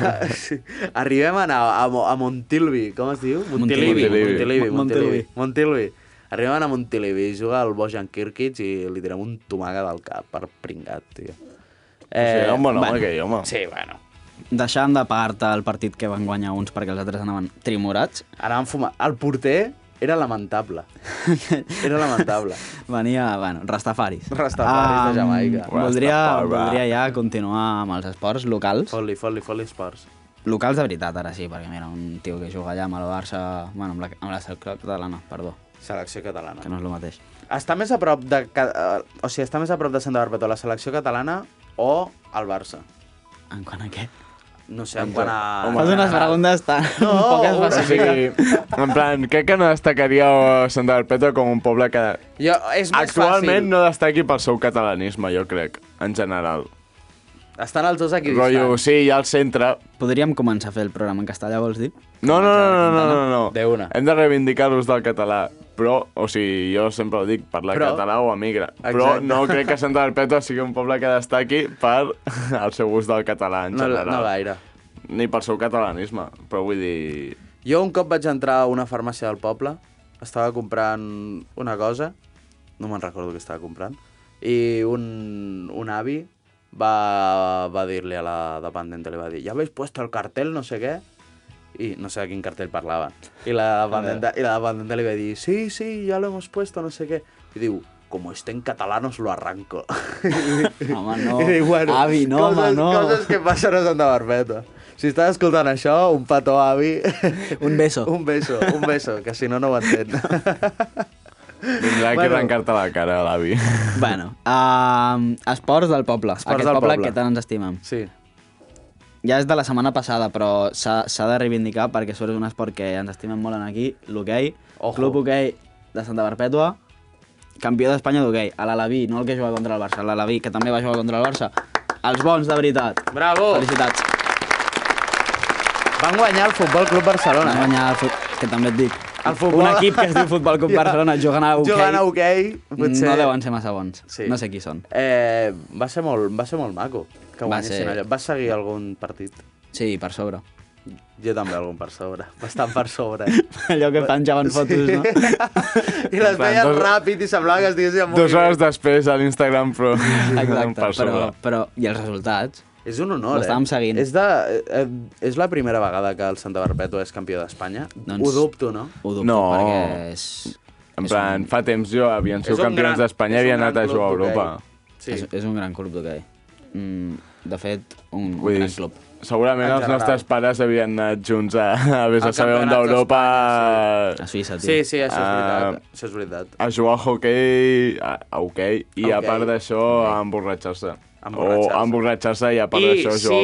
B: arribem a, anar a, Mo- a Montilvi, com es diu?
C: Montilivi.
B: Montilivi.
C: Mon-
B: Montilivi.
C: Montilivi.
B: Montilivi. Arribem a anar a Montilivi i juga el Bojan Kirkic i li tirem un tomaga del cap per pringat, tio. Eh,
G: Eh, sí, era un bon home,
C: bueno.
G: aquell home.
B: Sí, bueno.
C: Deixant de part el partit que van guanyar uns perquè els altres anaven trimorats,
B: Anaven fumant. El porter era lamentable. Era lamentable.
C: venia, bueno, Rastafaris.
B: Rastafaris de
C: Am,
B: Jamaica.
C: Voldria,
G: Rastafari.
C: voldria ja continuar amb els esports locals.
B: Fot-li, fot-li, fot-li esports.
C: Locals de veritat, ara sí, perquè mira, un tio que juga allà amb el Barça... Bueno, amb la, amb la selecció catalana, perdó,
B: Selecció catalana.
C: que no és el mateix.
B: Està més a prop de... ca- eh, O sigui, està més a prop de Santa Barbeta la selecció catalana o el Barça?
C: En quant a què?
B: No sé, en quant a...
C: Fas unes preguntes tan
B: No,
C: poc
B: una-
G: O
C: específiques.
G: sigui, en plan, crec que no destacaria eh, Santa Perpètua com un poble que
B: Jo, és més
G: actualment
B: fàcil.
G: no destaqui pel seu catalanisme, jo crec, en general.
B: Estan els dos aquí
G: Rotllo, sí, hi ha el centre.
C: Podríem començar a fer el programa en castellà, vols dir?
G: No, no, no, no, no, no, no.
B: De una.
G: Hem de reivindicar-los del català. Però, o sigui, jo sempre ho dic, parlar
B: Però-
G: català o emigra. Però
B: Exacte.
G: no crec que Santa Perpètua sigui un poble que destaqui per el seu ús del català en
B: No,
G: general.
B: no gaire.
G: Ni pel seu catalanisme, però vull dir...
B: Jo un cop vaig entrar a una farmàcia del poble, estava comprant una cosa, no me'n recordo què estava comprant, i un, un avi va, va dir-li a la dependent, li va dir, ja habéis puesto el cartel, no sé què, i no sé de quin cartell parlava. I la dependenta, i la dependenta li va dir, sí, sí, ya lo hemos puesto, no sé què. I diu, como esté en catalán os lo arranco.
C: Home, no.
B: I dic, bueno,
C: Avi, no,
B: coses,
C: home, no.
B: Coses que passen a Santa Barbeta. Si estàs escoltant això, un petó, avi.
C: Un beso.
B: Un beso, un beso, que si no, no ho entén.
G: Vindrà aquí
B: Bueno.
G: bueno. arrencar-te la cara, l'avi.
C: Bueno, um, esports del poble. Esports Aquest
B: del
C: poble,
B: poble.
C: que tant ens estimem.
B: Sí.
C: Ja és de la setmana passada, però s'ha s'ha de reivindicar perquè això és un esport que ens estimem molt en aquí, l'hoquei.
B: Ojo.
C: Club hoquei de Santa Perpètua, campió d'Espanya d'hoquei, a l'Alaví, no el que jugava contra el Barça, l'Alaví, que també va jugar contra el Barça. Els bons, de veritat.
B: Bravo!
C: Felicitats.
B: Van guanyar el Futbol Club
C: Van
B: Barcelona. eh?
C: guanyar el fut... que també et dic,
B: El futbol...
C: Un equip que es diu Futbol Club Barcelona jugant a hoquei.
B: Jugant a hoquei, potser...
C: No deuen ser massa bons. No sé qui són.
B: Eh, va, ser molt, va ser molt maco que
C: Va
B: guanyessin
C: ser-
B: allò. Vas seguir algun partit?
C: Sí, per sobre.
B: Jo també algun per sobre, bastant per sobre.
C: Allò que penjaven fotos, no?
B: I les
G: En plan,
B: veies
G: dos-
B: ràpid i semblava que estiguessin en
G: Dos hores després a l'Instagram, però...
C: Exacte,
G: per sobre.
C: però, però... I els resultats?
B: És un honor,
C: L'estàvem
B: eh?
C: seguint.
B: És, de, eh, és la primera vegada que el Santa Barpètua és campió d'Espanya?
C: Doncs-
B: Ho dubto, no?
C: Ho dubto,
G: No.
C: perquè és...
G: En
C: és
G: plan,
C: un,
G: fa temps jo havien sigut campions d'Espanya i havien anat a jugar a Europa.
B: Sí.
C: és, és un gran club d'hoquei. Mm, de fet, un, un
G: Vull dir,
C: gran club.
G: segurament
B: En
G: els
B: general.
G: nostres pares havien anat junts a, a vés
B: A
G: a saber on
B: campionats
G: d'Europa
C: A Suïssa, tio.
B: Sí, sí, això és
G: Ah.
B: veritat. Això és veritat.
G: a jugar a hoquei, a, a hoquei, i a
B: Hoquei.
G: part d'això a emborratxar-se.
B: A
G: O
B: emborratxar-se.
G: a emborratxar-se i a part d'això a
B: sí,
G: jugar a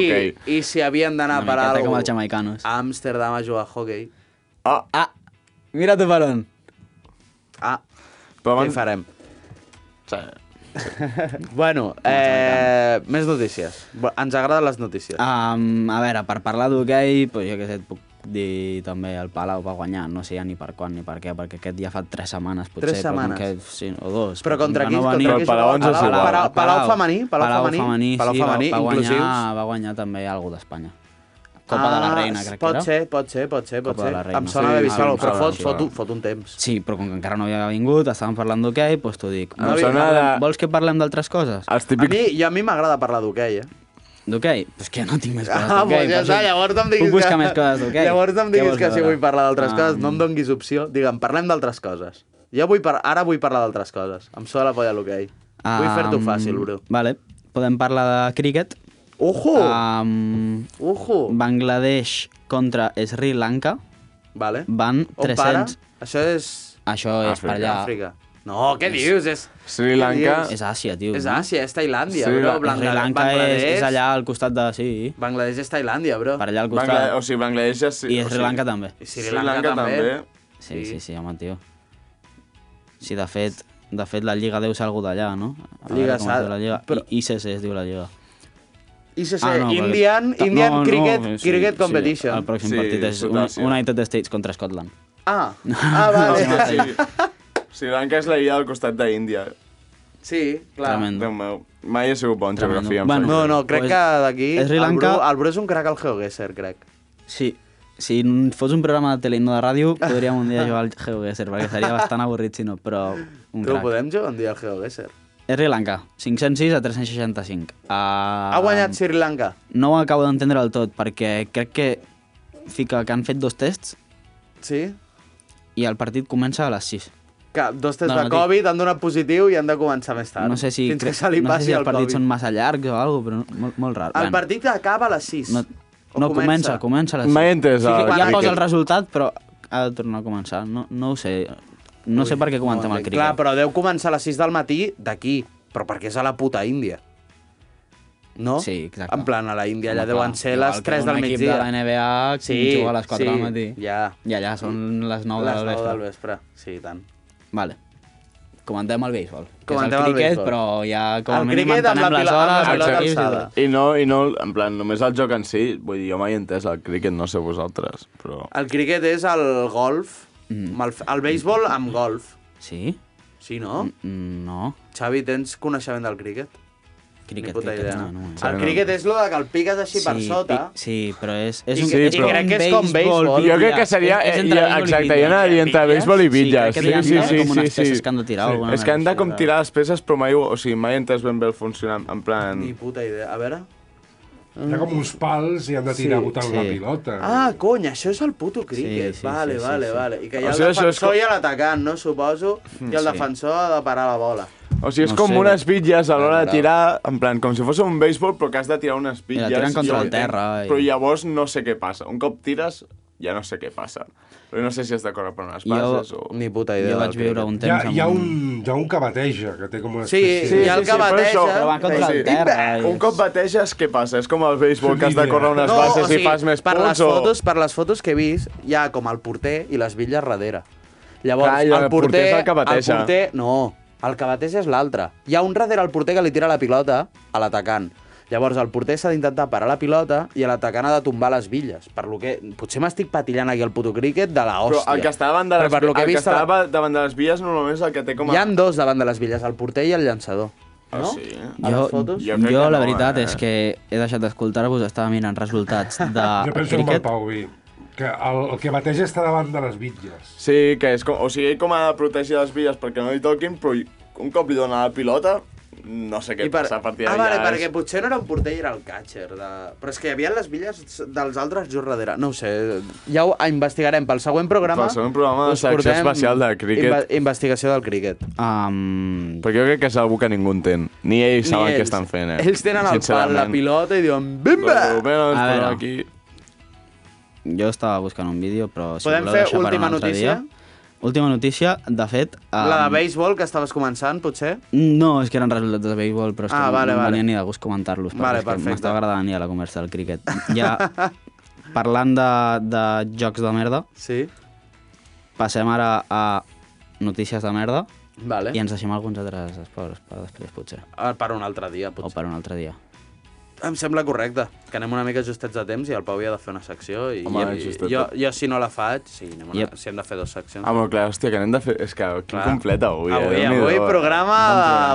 B: i
G: hoquei.
B: si havien d'anar
C: Una
B: per
C: miqueta
B: algo
C: com els jamaicanos.
B: a Amsterdam a jugar a hockey.
G: Ah,
C: Ah, mira tu per on.
B: Ah, què
G: però abans...
B: hi farem? Bueno, eh, més notícies. Bo- Ens agraden les notícies.
C: Um, a veure, per parlar d'hoquei, doncs jo què sé, et puc dir també el Palau va guanyar, no sé ja ni per quan ni per què, perquè aquest ja fa tres setmanes potser.
B: Tres
C: però com
B: setmanes.
C: Que, sí, o dos.
B: Però contra
C: com
B: qui?
C: que va
B: Contra
C: venir-
G: qui Però el Palau ens és
C: Palau,
G: igual.
B: Palau- Palau femení, Palau femení,
C: femení,
B: Palau
C: sí, va-
B: femení,
C: va, guanyar,
B: inclusius.
C: va guanyar també alguna d'Espanya. Copa de la Reina, crec
B: Ah, pot
C: que era.
B: ser, pot ser, pot ser, pot
C: Copa de
B: ser.
C: la Reina.
B: Em sona
C: Sí,
B: haver vist
C: sí,
B: alguna
C: em
B: cosa, però
C: sona,
B: fot,
C: sí,
B: fot,
C: va.
B: un, fot un temps.
C: Sí, però com que encara no havia vingut, estàvem parlant d'hoquei, doncs t'ho dic.
G: Em
B: Ah.
C: Vols, que
G: sona
C: parlem,
G: de-
C: vols que parlem d'altres coses?
G: Els
B: A mi,
G: típics...
B: i a mi m'agrada parlar d'hoquei, eh?
C: D'hoquei? Pues que no tinc més coses
B: Ah,
C: d'hoquei.
B: doncs ja
C: per
B: està,
C: això-
B: llavors no em diguis
C: Puc buscar
B: que...
C: més coses d'hoquei.
B: Llavors no em
C: Què
B: diguis
C: vols
B: que si
C: veure?
B: vull parlar d'altres
C: Ah,
B: coses, no em donguis opció. Digue'm, parlem d'altres coses. Jo vull par... ara vull parlar d'altres coses. Em sona la polla l'hoquei. Vull fer-t'ho
C: Am,
B: fàcil, bro.
C: Ah,
B: Uh.
C: Vale, podem parlar de críquet.
B: Ojo!
C: ah, Am,
B: Ojo!
C: Bangladesh contra Sri Lanka
B: Vale.
C: van
B: On para? Ah,
C: 300...
B: Això és...
C: Això és per allà.
B: Àfrica. No, què dius? És...
G: Sri Lanka...
C: És Àsia, tio.
B: És
C: no?
B: Àsia, és Tailàndia,
G: Sí,
B: bro.
G: la-
B: Bangla-
C: Sri Lanka és,
B: Bangladesh-
C: és allà al costat de... Sí,
B: Bangladesh és Tailàndia, bro.
C: per allà al costat.
G: Bangla... O sigui, Bangladesh ja... sí,
C: I
G: o
C: Sri
G: sigui,
C: Lanka també.
B: I Sri Lanka, també.
C: Sí, sí, sí, home, tio. Sí, de fet, de fet la Lliga deu ser algú d'allà, no? A
B: Lliga
C: veure com es
B: s'ha-
C: diu la Lliga.
B: però-
C: Però... ICC es diu la Lliga.
B: ICC,
C: Ah, no,
B: Indian,
C: perquè-
B: Indian
C: no,
B: Cricket,
C: no, sí,
B: cricket
C: sí,
B: Competition.
C: El pròxim
G: Sí,
C: partit és un-
G: Sud-àsia.
C: United States contra Scotland.
B: Ah, ah, vale.
G: Sí, sí. Sri Lanka és la illa del costat d'Índia.
B: Sí, clar.
C: Tremendo.
G: Déu meu. Mai he sigut bon en
C: Tremendo.
G: geografia. em
C: Bueno.
G: sap
B: No,
G: greu.
B: no, crec
C: Pues,
B: que d'aquí...
C: és Sri Lanka-
B: El Bru, el Bru és un crac al GeoGuessr, crec.
C: Sí. Si n- fos un programa de tele i no de ràdio, podríem un dia jugar al GeoGuessr, perquè seria bastant avorrit si no, però un
B: Tu ho
C: crac.
B: podem jugar un dia al GeoGuessr.
C: Sri Lanka, 506 a 365. Uh,
B: Ha guanyat Sri Lanka.
C: No ho acabo d'entendre del tot, perquè crec que fica que han fet dos tests
B: Sí?
C: i el partit comença a les 6.
B: Que dos tests
C: No,
B: de
C: no,
B: Covid han donat positiu i han de començar més tard.
C: No sé si,
B: Fins
C: crec-
B: que se li
C: no sé
B: passi
C: si els
B: el Covid.
C: partits són massa llargs o alguna però no- molt, molt rar.
B: El partit acaba a les 6.
C: No, no comença, comença a les
G: Mai he
C: 6.
G: entès
C: Sí,
G: el
C: que ja
G: cricket.
C: posa el resultat, però ha de tornar a començar. No, no ho sé. No sé per què comentem el criquet.
B: Clar, però deu començar a les 6 del matí d'aquí, però perquè és a la puta Índia. No?
C: Sí, exacte.
B: En plan, a la Índia ja
C: Home,
B: deuen
C: clar,
B: ser
C: igual
B: les
C: que
B: 3 del
C: Un equip de
B: migdia.
C: la NBA sí, juga a les 4 sí, del matí.
B: Ja.
C: I allà són les 9
B: les
C: del
B: 9
C: vespre.
B: del vespre. Sí, i tant.
C: Vale. Comentem el béisbol. que
B: Comentem
C: és
B: el
C: el criquet,
B: béisbol.
C: però ja com
B: El
C: a mínim
B: criquet amb
C: entenem
B: la
C: les
B: pila- amb la
C: hores. els
B: pilota
C: equips i
B: alçada.
C: tal.
G: I no, i no, en plan, només el joc en si, vull dir, jo mai he entès el cricket, no sé vosaltres, però...
B: El criquet és el golf,
C: Mhm.
B: mm. el, el béisbol amb golf.
C: Sí?
B: Sí, no? Mm.
C: Mm, No.
B: Xavi, tens coneixement del criquet? Ni
C: Criquet,
B: puta
C: criquet,
B: idea. Ah,
C: no, no.
B: el criquet és lo de que el piques així per sota.
C: pi- Sí, però és, és
B: I
C: un
B: que-
G: i crec
B: que és com
C: Ah,
B: béisbol.
G: Jo crec que seria...
C: És- és
G: eh,
C: entre
G: jo-
C: béisbol i
G: exacte,
C: bitlles.
G: jo anaria entre béisbol i
C: Sí,
G: bitlles.
C: crec que tenen com unes peces que han de tirar, o alguna
G: És que han de
C: merda
G: com
C: així,
G: tirar les peces, però mai, ho- o sigui, mai he entès ben bé el funcionament. En plan...
B: Ni puta idea. A veure...
H: Hi ha com uns pals i han de tirar
B: Sí,
H: sí, botant
C: sí.
H: sí. la pilota.
B: Ah, cony, això és el puto criquet. Sí,
C: Sí, sí,
B: sí, vale,
C: sí, sí,
B: vale,
C: sí.
B: vale. I que hi
G: O
B: ha el
G: sigui, això és
B: defensor
G: com- Mm,
B: i l'atacant, no? Suposo. I el defensor ha de parar la bola.
G: O sigui, és
C: No
G: com
C: sé,
G: unes
C: no.
G: bitlles a l'hora de
C: Bravo.
G: tirar, en plan, com si fos un béisbol, però que has de tirar unes bitlles.
C: tiren contra
G: jo
C: el
G: entenc,
C: terra, i-
G: Però llavors no sé què passa. Un cop tires, ja no sé què passa. Però no sé si has de córrer per unes bases
C: Jo-
G: o...
B: Ni puta idea.
C: Jo
B: del
C: vaig viure un
H: hi, ha,
C: temps amb
H: hi, ha un, hi ha un que bateja, que té com una
B: Sí,
H: espècie...
B: hi ha el que
G: però
B: bateja,
G: això-
B: Però va
C: contra
G: Sí.
C: el terra,
G: I-
C: i-
G: Un cop bateges, què passa? És com el béisbol que has de córrer unes
H: No,
G: bases i fas més
B: per les
G: punts o...
B: fotos, per les fotos que he vist, hi ha com el porter i les bitlles darrere. Llavors,
G: Clar, i
B: el, porter,
G: el porter és el que bateja.
B: El porter, no, el que bateja és l'altre. Hi ha un darrere al porter que li tira la pilota a l'atacant. Llavors, el porter s'ha d'intentar parar la pilota i l'atacant ha de tombar les billes. Per lo que... Potser m'estic patillant aquí el puto críquet de la
G: Però
B: hòstia.
G: el que està davant de les,
B: Però per lo que he
G: el que
B: vist,
G: està
B: la-
G: dava- davant de les vies normalment és el que té com a...
B: Hi han dos davant de les villes, el porter i el llançador.
G: Ah,
B: No?
G: sí?
B: A
C: Jo,
B: les fotos?
G: Jo
C: jo,
G: crec
C: jo
G: que
C: la
G: no,
C: veritat
G: eh?
C: és que he deixat d'escoltar-vos, estava mirant resultats de
H: Jo penso com el
C: cricket.
H: Pau Vi, que el, el que bateja està davant de les bitlles.
G: Sí, que és com... O sigui, ell com ha de protegir les vies perquè no li toquin, però un cop li dona la pilota, no sé què
B: I per...
G: passa a partir
B: ah,
G: d'allà.
B: vale,
G: és-
B: perquè potser no era un porter i era el catcher. De... Però és que hi havia les villes dels altres just darrere. No ho sé, ja ho investigarem. Pel següent programa...
G: Pel següent programa,
B: us
G: secció
B: portem
G: especial de críquet.
B: inve- investigació del críquet.
C: Um,
G: Perquè jo crec que és algú que ningú entén. Ni ells
B: Ni
G: saben què
B: ells.
G: estan fent, eh?
B: Ells tenen al pal la
G: Sincerament.
B: pilota i diuen bimba!
G: Bueno, bueno, però
C: A veure.
G: aquí...
C: jo estava buscant un vídeo, però si
B: Podem
C: voleu
B: fer
C: deixar per
B: última
C: un altre
B: notícia?
C: Dia. Última notícia, de fet... Um,
B: La de béisbol que estaves començant, potser?
C: No, és que eren resultats de béisbol, però és que
B: Ah, vale,
C: no em
B: vale.
C: venia ni de gust comentar-los. perquè
B: Vale,
C: és que
B: perfecte.
C: M'estava agradant ja la conversa del críquet. Ja, parlant de, de jocs de merda,
B: Sí.
C: passem ara a notícies de merda
B: Vale.
C: i ens deixem alguns altres esports per després, potser.
B: Ah, Per un altre dia,
C: O
B: potser.
C: per un altre dia.
B: Em sembla correcte, que anem una mica justets de temps i el Pau hi ha de fer una secció i,
G: Home,
B: i
G: justeta.
B: jo, jo si no la faig, sí, anem una,
C: Yep.
B: si hem de fer dues seccions.
G: Ah, molt clar, hòstia, que anem de fer... És que quin
B: Clar.
G: complet avui, eh?
B: avui,
G: Déu-n'hi-do,
B: avui
G: eh?
B: programa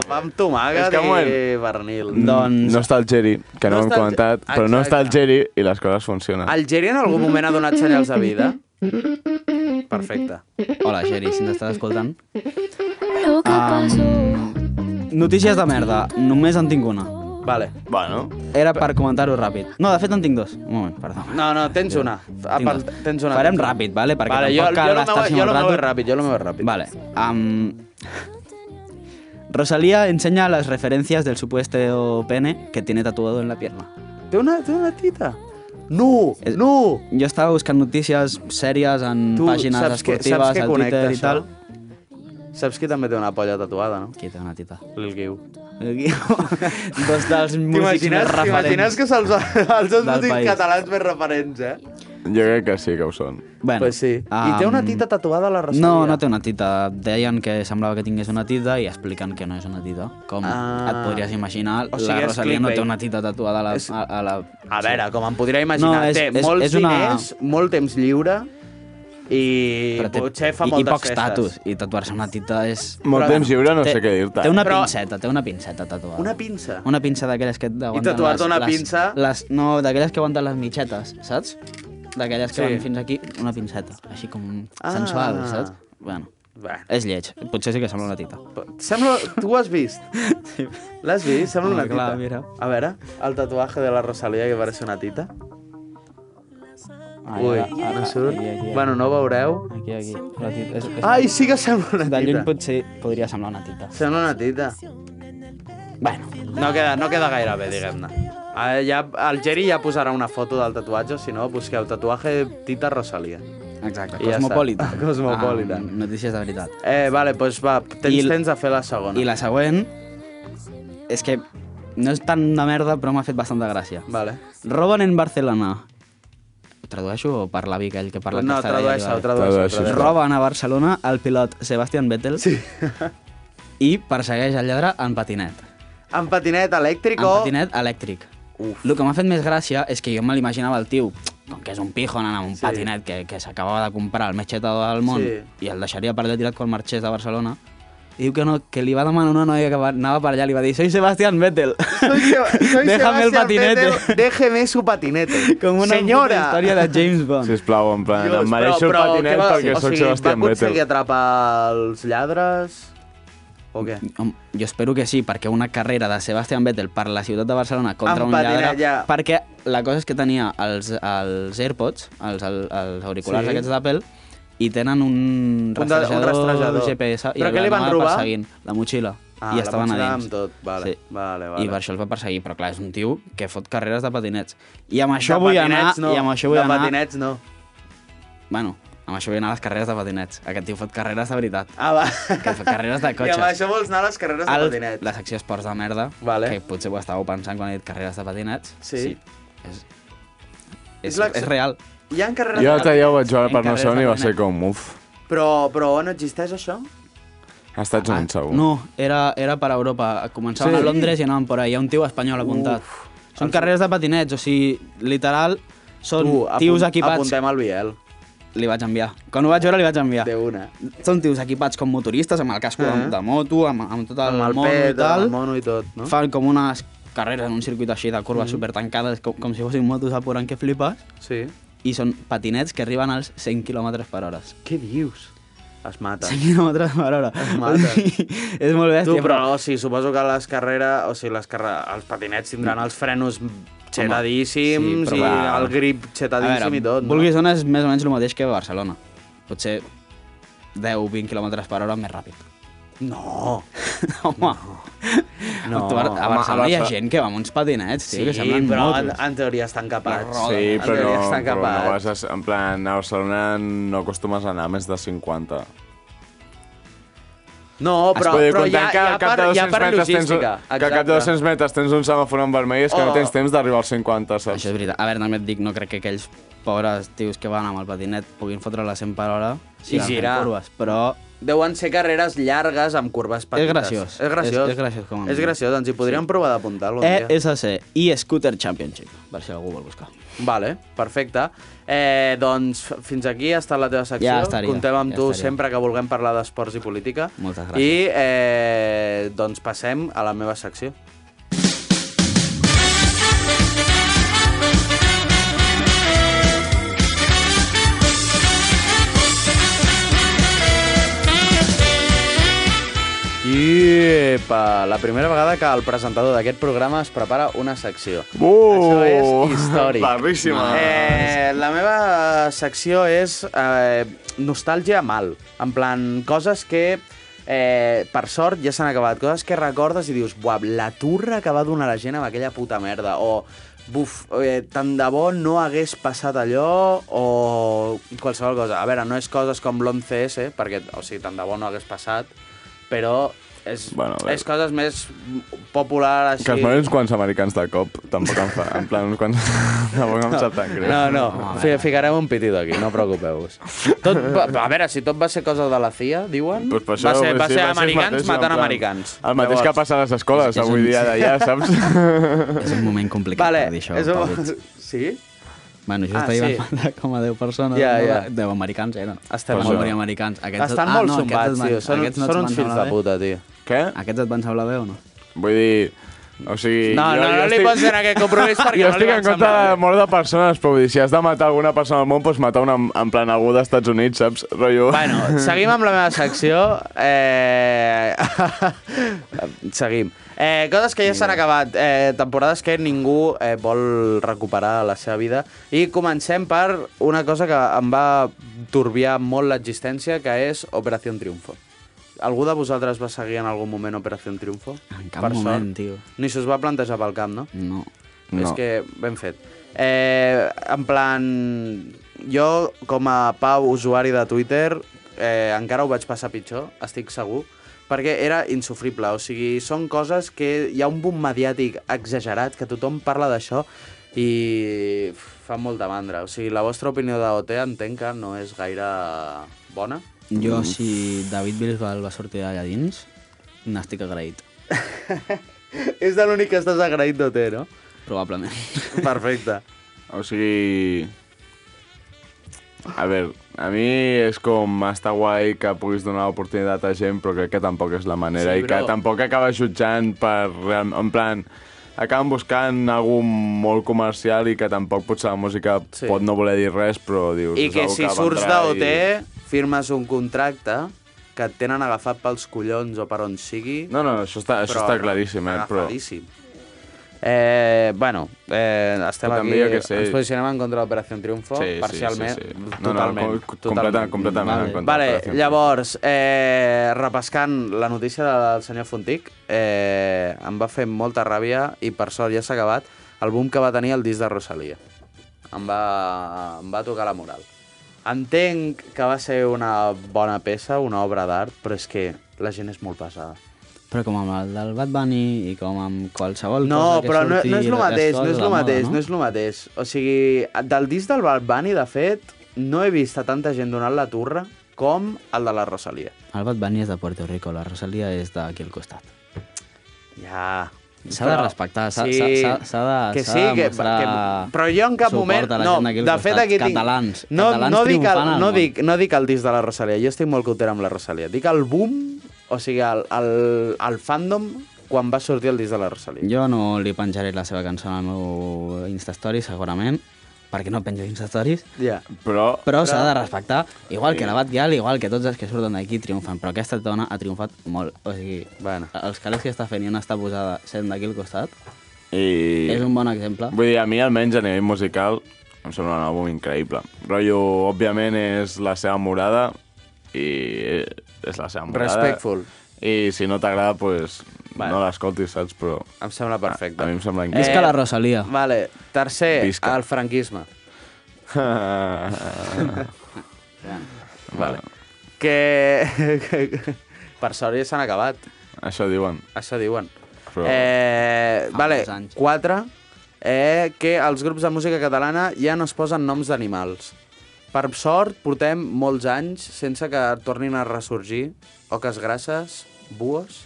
B: de Pam
G: És
B: Tomàquet
G: que, moment,
B: i Bernil.
G: Mm,
C: Doncs-
G: No està el Geri, que
B: No
G: no, ho hem
B: està el-
G: comentat, però no està el
B: Exacte.
G: Geri i les coses funcionen.
B: El Geri en algun moment ha donat senyals de vida? Perfecte.
C: Hola, Geri, si ens estàs escoltant. Um, notícies de merda. Només en tinc una.
B: Vale.
G: Bueno,
C: Era per comentar-ho ràpid. No, de fet en tinc dos. Un moment, perdó.
B: No, no, tens una. Ah,
C: Tinc
B: per,
C: dos.
B: tens una.
C: Farem
B: tens una.
C: ràpid, vale? Perquè
B: vale, jo,
C: tampoc cal
B: jo, lo meu,
C: gastar-se
B: jo
C: molt
B: lo meu
C: rato.
B: és ràpid, jo lo meu és ràpid.
C: Vale. am- Rosalía enseña las referencias del supuesto pene que tiene tatuado en la pierna.
B: Té una, té una tita? No,
C: És-
B: no!
C: Yo estaba buscando noticias serias en
B: Tu
C: páginas
B: saps que-
C: esportivas,
B: saps que
C: al
B: connecta
C: Twitter y
B: això?
C: tal.
B: Saps que també té una polla tatuada, no?
C: Quita una tita.
B: Lil Guiu.
C: Dos dels músics
B: T'imagines
C: més
B: t'imagines
C: referents.
B: que se'ls els dos
C: del
B: músics
C: país.
B: catalans més referents, eh?
G: jo crec que sí que ho són.
C: Bueno,
B: pues sí. I té una
C: am,
B: tita tatuada a la Rosalía.
C: No, no té una tita. Deien que semblava que tingués una tita i expliquen que no és una tita. Com
B: Ah.
C: et podries imaginar,
B: O sigui,
C: la
B: és
C: Rosalía no té
B: clickbait.
C: una tita tatuada a la...
B: És-
C: A, a la...
B: A veure, com em podria imaginar,
C: No, és-
B: té
C: és-
B: molts
C: és una-
B: diners, molt temps lliure i
C: Però té-
B: potser fa
C: i,
B: moltes
C: i poc
B: festes.
C: estatus. I tatuar-se una tita és...
G: Molt
B: Però-
G: temps lliure, no sé què dir-te.
C: Té una
B: Però-
C: pinceta, té una pinceta tatuada.
B: Una pinça.
C: Una pinça d'aquelles que aguanten
B: tatuar-te
C: les-
B: una
C: les,
B: pinça?
C: Les, no, d'aquelles que aguanten les mitxetes, saps? D'aquelles
B: Sí.
C: que van fins aquí, una pinceta. Així com
B: Ah.
C: sensual, saps? Bueno,
B: Bueno,
C: és lleig. Potser sí que sembla una tita.
B: sembla... Tu ho has vist? L'has vist? Sembla
C: Home,
B: una tita.
C: Ah, clar, mira.
B: A veure, el tatuaje de la Rosalía que pareix una tita.
C: Ai,
B: Ui,
C: ara- ara-
B: no surt?
C: Aquí, aquí,
B: Bueno, no ho veureu.
C: aquí. aquí. La tita, és, és,
B: Ai, sí que sembla una
C: de lluny
B: tita.
C: potser podria semblar una tita.
B: Sembla una tita.
C: Bueno,
B: No queda, no queda gaire bé, diguem-ne. Ah, Ja, el Geri ja posarà una foto del tatuatge, si no, busqueu tatuaje Tita Rosalía.
C: exacte.
B: I ja està.
C: Cosmopolita.
B: Cosmopolita.
C: Ah, notícies de veritat.
B: Eh, vale, doncs pues va, tens
C: I l-
B: temps a fer la segona.
C: I la següent és que no és tan de merda, però m'ha fet bastanta gràcia.
B: Vale.
C: Roben en Barcelona. Ho tradueixo o parla Vic, ell que parla
B: no,
C: castellà?
B: tradueix-ho,
C: Vale.
B: tradueix-ho.
G: Tradueix-ho.
B: Tradueix
C: Roben a Barcelona el pilot Sebastian Vettel
B: sí.
C: i persegueix el lladre en patinet.
B: En patinet elèctric
C: En
B: o...
C: patinet elèctric. Uf. El que m'ha fet més gràcia és que jo me l'imaginava el tio, com que és un pijo anant amb un
B: Sí.
C: sí. patinet que, que s'acabava de comprar el més xeta del món
B: Sí.
C: i el deixaria per allà tirat quan marxés de Barcelona. I diu que no, que li va demanar una noia que va- anava per allà, li va dir «Soy Sebastián Vettel».
B: Soy Se- soy
C: Déjame el
B: Sebastián
C: patinete.
B: Vettel, Déjeme su patinete.
C: Com una
B: Senyora!
C: puta història de James Bond.
G: Sisplau, en plan,
B: Dios,
G: em mereixo
B: però- però
G: el patinet
B: què va-
G: perquè sóc Sebastián
B: Va aconseguir
G: Vettel.
B: atrapar els lladres... O què?
C: Hom, Jo espero que sí, perquè una carrera de Sebastian Vettel per la ciutat de Barcelona contra
B: Amb
C: un lladre...
B: patinet, ja.
C: Perquè la cosa és que tenia els, els AirPods, els, el- els auriculars
B: Sí.
C: sí. aquests d'Apple, i tenen un
B: de- un rastrejador.
C: GPS.
B: Però
C: i
B: què li van
C: l'anava
B: robar?
C: Perseguint, la motxilla.
B: Ah,
C: I
B: la
C: estaven a
B: motxilla
C: dins.
B: amb tot, vale, vale, vale.
C: I per això els va perseguir, però clar, és un tio que fot carreres de patinets. I amb això
B: De
C: vull anar...
B: patinets, no.
C: I amb això vull
B: de
C: anar...
B: patinets no.
C: Bueno, amb això vull anar a les carreres de patinets. Aquest tio fot carreres de veritat.
B: Ah, va.
C: Que fot carreres de
B: I
C: cotxes.
B: amb això vols anar a les carreres de
C: Al-
B: patinet.
C: La secció esports de merda,
B: Vale.
C: que potser ho estàveu pensant quan he dit carreres de patinets.
B: Sí.
C: És,
B: És
C: és,
B: la-
C: és, real.
B: Hi ha carreres
G: Jo
B: de
G: l'altre dia ho vaig jugar
C: En
G: per no sé on i va
C: carreres de
G: ser com, uf,
B: Però, però on existeix això?
G: als
B: Ah,
G: Estats Units segur.
C: No, Ah, era, era per Europa. Començaven
G: Sí?
C: a Londres i anaven per allà. Hi ha un tio espanyol apuntat. Uf. Són carreres de patinets, o sigui, literal, són
B: Tu, apun-
C: tios equipats.
B: Apuntem al Biel,
C: Li vaig enviar. Quan ho vaig veure, li vaig enviar.
B: de una.
C: Són tios equipats com motoristes, amb el casco uh
B: Ah.
C: -huh. de moto, amb, amb tot el,
B: Amb el
C: mono i
B: pet,
C: tal.
B: el mono i tot, no?
C: Fan com unes carreres en un circuit així de curves mm. supertancades, com, com si fossin motos a porant que flipes,
B: Sí.
C: i són patinets que arriben als 100 km per hora.
B: Què dius? Es mata.
C: 100 km per hora.
B: Es mata.
C: és molt
B: Tu,
C: bèstia,
B: però, o sigui, suposo que les carreres, o sigui, les carre... els patinets tindran els frenos xetadíssims
C: sí, però
B: i
C: va.
B: el grip
C: A
B: xetadíssim i tot. no?
C: vulguis o no és més o menys el mateix que a Barcelona. Potser 10-20 km per hora més ràpid.
B: No.
C: home,
B: No,
C: tu, a, a
B: home,
C: Barcelona
B: a
C: hi ha
B: Barce-
C: gent que va amb uns patinets, tio,
B: Sí,
C: que semblen
B: però en,
C: motos.
B: en teoria estan capats.
C: roda.
G: Sí,
B: en
G: però
B: teoria
G: no,
B: estan
G: però no vas
B: capats.
G: a, en plan, a Barcelona no acostumes a anar més de 50.
B: No, però,
G: Vull dir,
B: però ja,
G: comptant
B: ja,
G: al cap
B: per,
G: de
B: ja
G: 200
B: per
G: metres tens,
B: logística.
G: que al cap de 200 metres tens un semàfor en vermell és que
B: Oh.
G: no tens temps d'arribar als 50, saps?
C: Això és veritat. A veure, també et dic, no crec que aquells pobres tios que van amb el patinet puguin fotre la 100 per hora
B: Sí,
C: girant
B: girar.
C: en curves, però
B: Deuen ser carreres llargues amb curves petites.
C: graciós.
B: És graciós.
C: És- és graciós, com a
B: És
C: mínim. Eh,
B: graciós, doncs hi podríem provar d'apuntar-lo un dia.
C: ESC E i Scooter Championship, per si algú vol buscar.
B: Vale, perfecte. Eh, doncs fins aquí ha estat la teva secció.
C: Ja estaria,
B: Comptem amb
C: ja
B: tu
C: estaria.
B: sempre que vulguem parlar d'esports i política.
C: Moltes gràcies.
B: I eh, doncs passem a la meva secció. Iepa! La primera vegada que el presentador d'aquest programa es prepara una secció. Això és històric.
G: Barríssima.
B: Eh, la meva secció és eh, nostàlgia mal. En plan, coses que, eh, per sort, ja s'han acabat. Coses que recordes i dius, buah, la turra que va donar la gent amb aquella puta merda. O, buf, eh, tant de bo no hagués passat allò o qualsevol cosa. A veure, no és coses com l'11S, perquè, o sigui, tant de bo no hagués passat, però és,
G: Bueno,
B: bueno,
G: a veure.
B: és coses més populars, així...
G: Que es moren uns quants americans de cop, tampoc em fa, en plan, uns quants, tampoc em sap tan greu.
B: No, no, fi, ficarem un pitido aquí, no preocupeu-vos. Tot, va- a veure, si tot va ser cosa de la CIA, diuen,
G: Pues per això,
B: va ser,
G: vull
B: va
G: dir,
B: ser
G: el
B: americans
G: mateix, en
B: matant
G: plan,
B: americans.
G: El mateix que passa a les escoles
C: és un-
G: avui dia d'allà, saps?
C: És un moment complicat
B: Vale,
C: per dir això.
B: és
C: Pau.
B: un... Sí?
C: Bueno, jo
B: Ah,
C: estava
B: sí.
C: ah, sí. com a 10 persones,
B: Ja, ja.
C: 10 americans eh, eren.
B: Estan
C: Van
B: molt-
C: morir americans. Aquests,
B: Estan
C: ah,
B: molt
C: no,
B: zumbats,
C: aquests et van-
B: tio, són,
C: aquests no et
B: són
C: van
B: uns fills
C: semblar
B: de
C: bé?
B: puta, tio.
G: Què?
C: Aquests et van semblar bé o no?
G: Vull dir... O sigui,
B: No, no, no li pots donar aquest compromís perquè
G: jo
B: no li
G: estic
B: van
G: en contra
B: semblar
G: de
B: bé.
G: mort de persones, però vull dir, si has de matar alguna persona al món, doncs matar una, en plan algú dels Estats Units, saps? Rollo...
B: Bueno, seguim amb la meva secció. Eh... seguim. Eh, coses que ja s'han acabat, eh, temporades que ningú eh, vol recuperar a la seva vida. I comencem per una cosa que em va turbiar molt l'existència, que és Operació Triunfo. Algú de vosaltres va seguir en algun moment Operació Triunfo?
C: En cap moment, tio.
B: Ni se us va plantejar pel camp, no?
C: No.
B: No. És que ben fet. Eh, en plan, jo com a Pau, usuari de Twitter, eh, encara ho vaig passar pitjor, estic segur, perquè era insufrible. O sigui, són coses que hi ha un boom mediàtic exagerat, que tothom parla d'això i fa molt de mandra. O sigui, la vostra opinió d'OT entenc que no és gaire bona.
C: Jo, si David Bisbal va sortir d'allà dins, n'estic agraït,
B: és de l'únic que estàs agraït d'OT, no?
C: probablement.
B: Perfecte.
G: O sigui... A veure, a mi és com està guai que puguis donar oportunitat a gent, però crec que tampoc és la manera
B: Sí,
G: i que
B: però-
G: tampoc acaba jutjant per... real- En plan, acaben buscant algú molt comercial i que tampoc potser la música
B: Sí.
G: sí. pot no voler dir res, però dius...
B: I
G: és
B: que
G: algú
B: si
G: va
B: surts
G: entrar
B: d'OT,
G: i-
B: i... firmes un contracte que et tenen agafat pels collons o per on sigui.
G: No, no, això està, això està claríssim, eh? Però...
B: Agafadíssim. Eh, bueno, eh, estem
G: Però
B: aquí,
G: també jo què sé.
B: ens posicionem en contra de l'Operació Triunfo, parcialment,
G: No, no,
B: totalment.
G: com- com-
B: totalment.
G: completament, completament
C: Vale.
G: en contra.
B: Vale,
G: per exemple.
B: llavors, eh, repescant la notícia del senyor Fontic, eh, em va fer molta ràbia i per sort ja s'ha acabat el boom que va tenir el disc de Rosalia. Em va, em va tocar la moral. Entenc que va ser una bona peça, una obra d'art, però és que la gent és molt pesada.
C: Però com amb el del Bad Bunny i com amb qualsevol
B: No,
C: cosa que
B: però no,
C: surti...
B: no és el
C: les
B: mateix, no
C: coses
B: és
C: de
B: el
C: moda,
B: mateix, no és el mateix. O sigui, del disc del Bad Bunny, de fet, no he vist a tanta gent donant la turra com el de la Rosalia.
C: El Bad Bunny és de Puerto Rico, la Rosalia és d'aquí al costat.
B: Ja,
C: S'ha de
B: Però-
C: respectar, s'ha
B: sí,
C: s'ha- s'ha- s'ha de
B: que
C: s'ha
B: sí,
C: de
B: que-
C: mostrar
B: que- però jo en cap
C: suport
B: moment-
C: a la
B: no,
C: gent d'aquí al
B: de
C: costat.
B: fet, aquí tinc-
C: Catalans,
B: no-
C: catalans
B: no dic el-
C: triomfant al
B: no
C: món.
B: dic- no dic el disc de la Rosalia, jo estic molt cultura amb la Rosalia. Dic el boom, o sigui, el- el- el fandom quan va sortir el disc de la Rosalia.
C: Jo no li penjaré la seva cançó al meu Instastory, segurament, perquè no penjo Instastories,
B: Ja.
G: Però...
C: però s'ha de respectar, igual que la Batgirl, igual que tots els que surten d'aquí triomfen, però aquesta dona ha triomfat molt. O sigui,
B: Bueno.
C: els calés que està fent i on està posada sent d'aquí al costat,
G: I...
C: és un bon exemple.
G: Vull dir, a mi almenys a nivell musical em sembla un àlbum increïble. Rollo, òbviament, és la seva morada i és la seva morada.
B: Respectful.
G: I si no t'agrada, doncs
B: Vale.
G: no l'escoltis, saps? Però
B: Em sembla perfecte. Eh,
G: A, a mi em sembla
C: Visca la Rosalia.
B: Vale, tercer,
G: Visca.
B: el franquisme.
G: vale.
B: Que... per sort ja s'han acabat,
G: Això diuen.
B: això diuen.
G: Però-
B: Eh,
C: Fa
B: vale,
C: molts anys.
B: quatre, eh, que els grups de música catalana ja no es posen noms d'animals. Per sort, portem molts anys sense que tornin a ressorgir oques grasses, bues,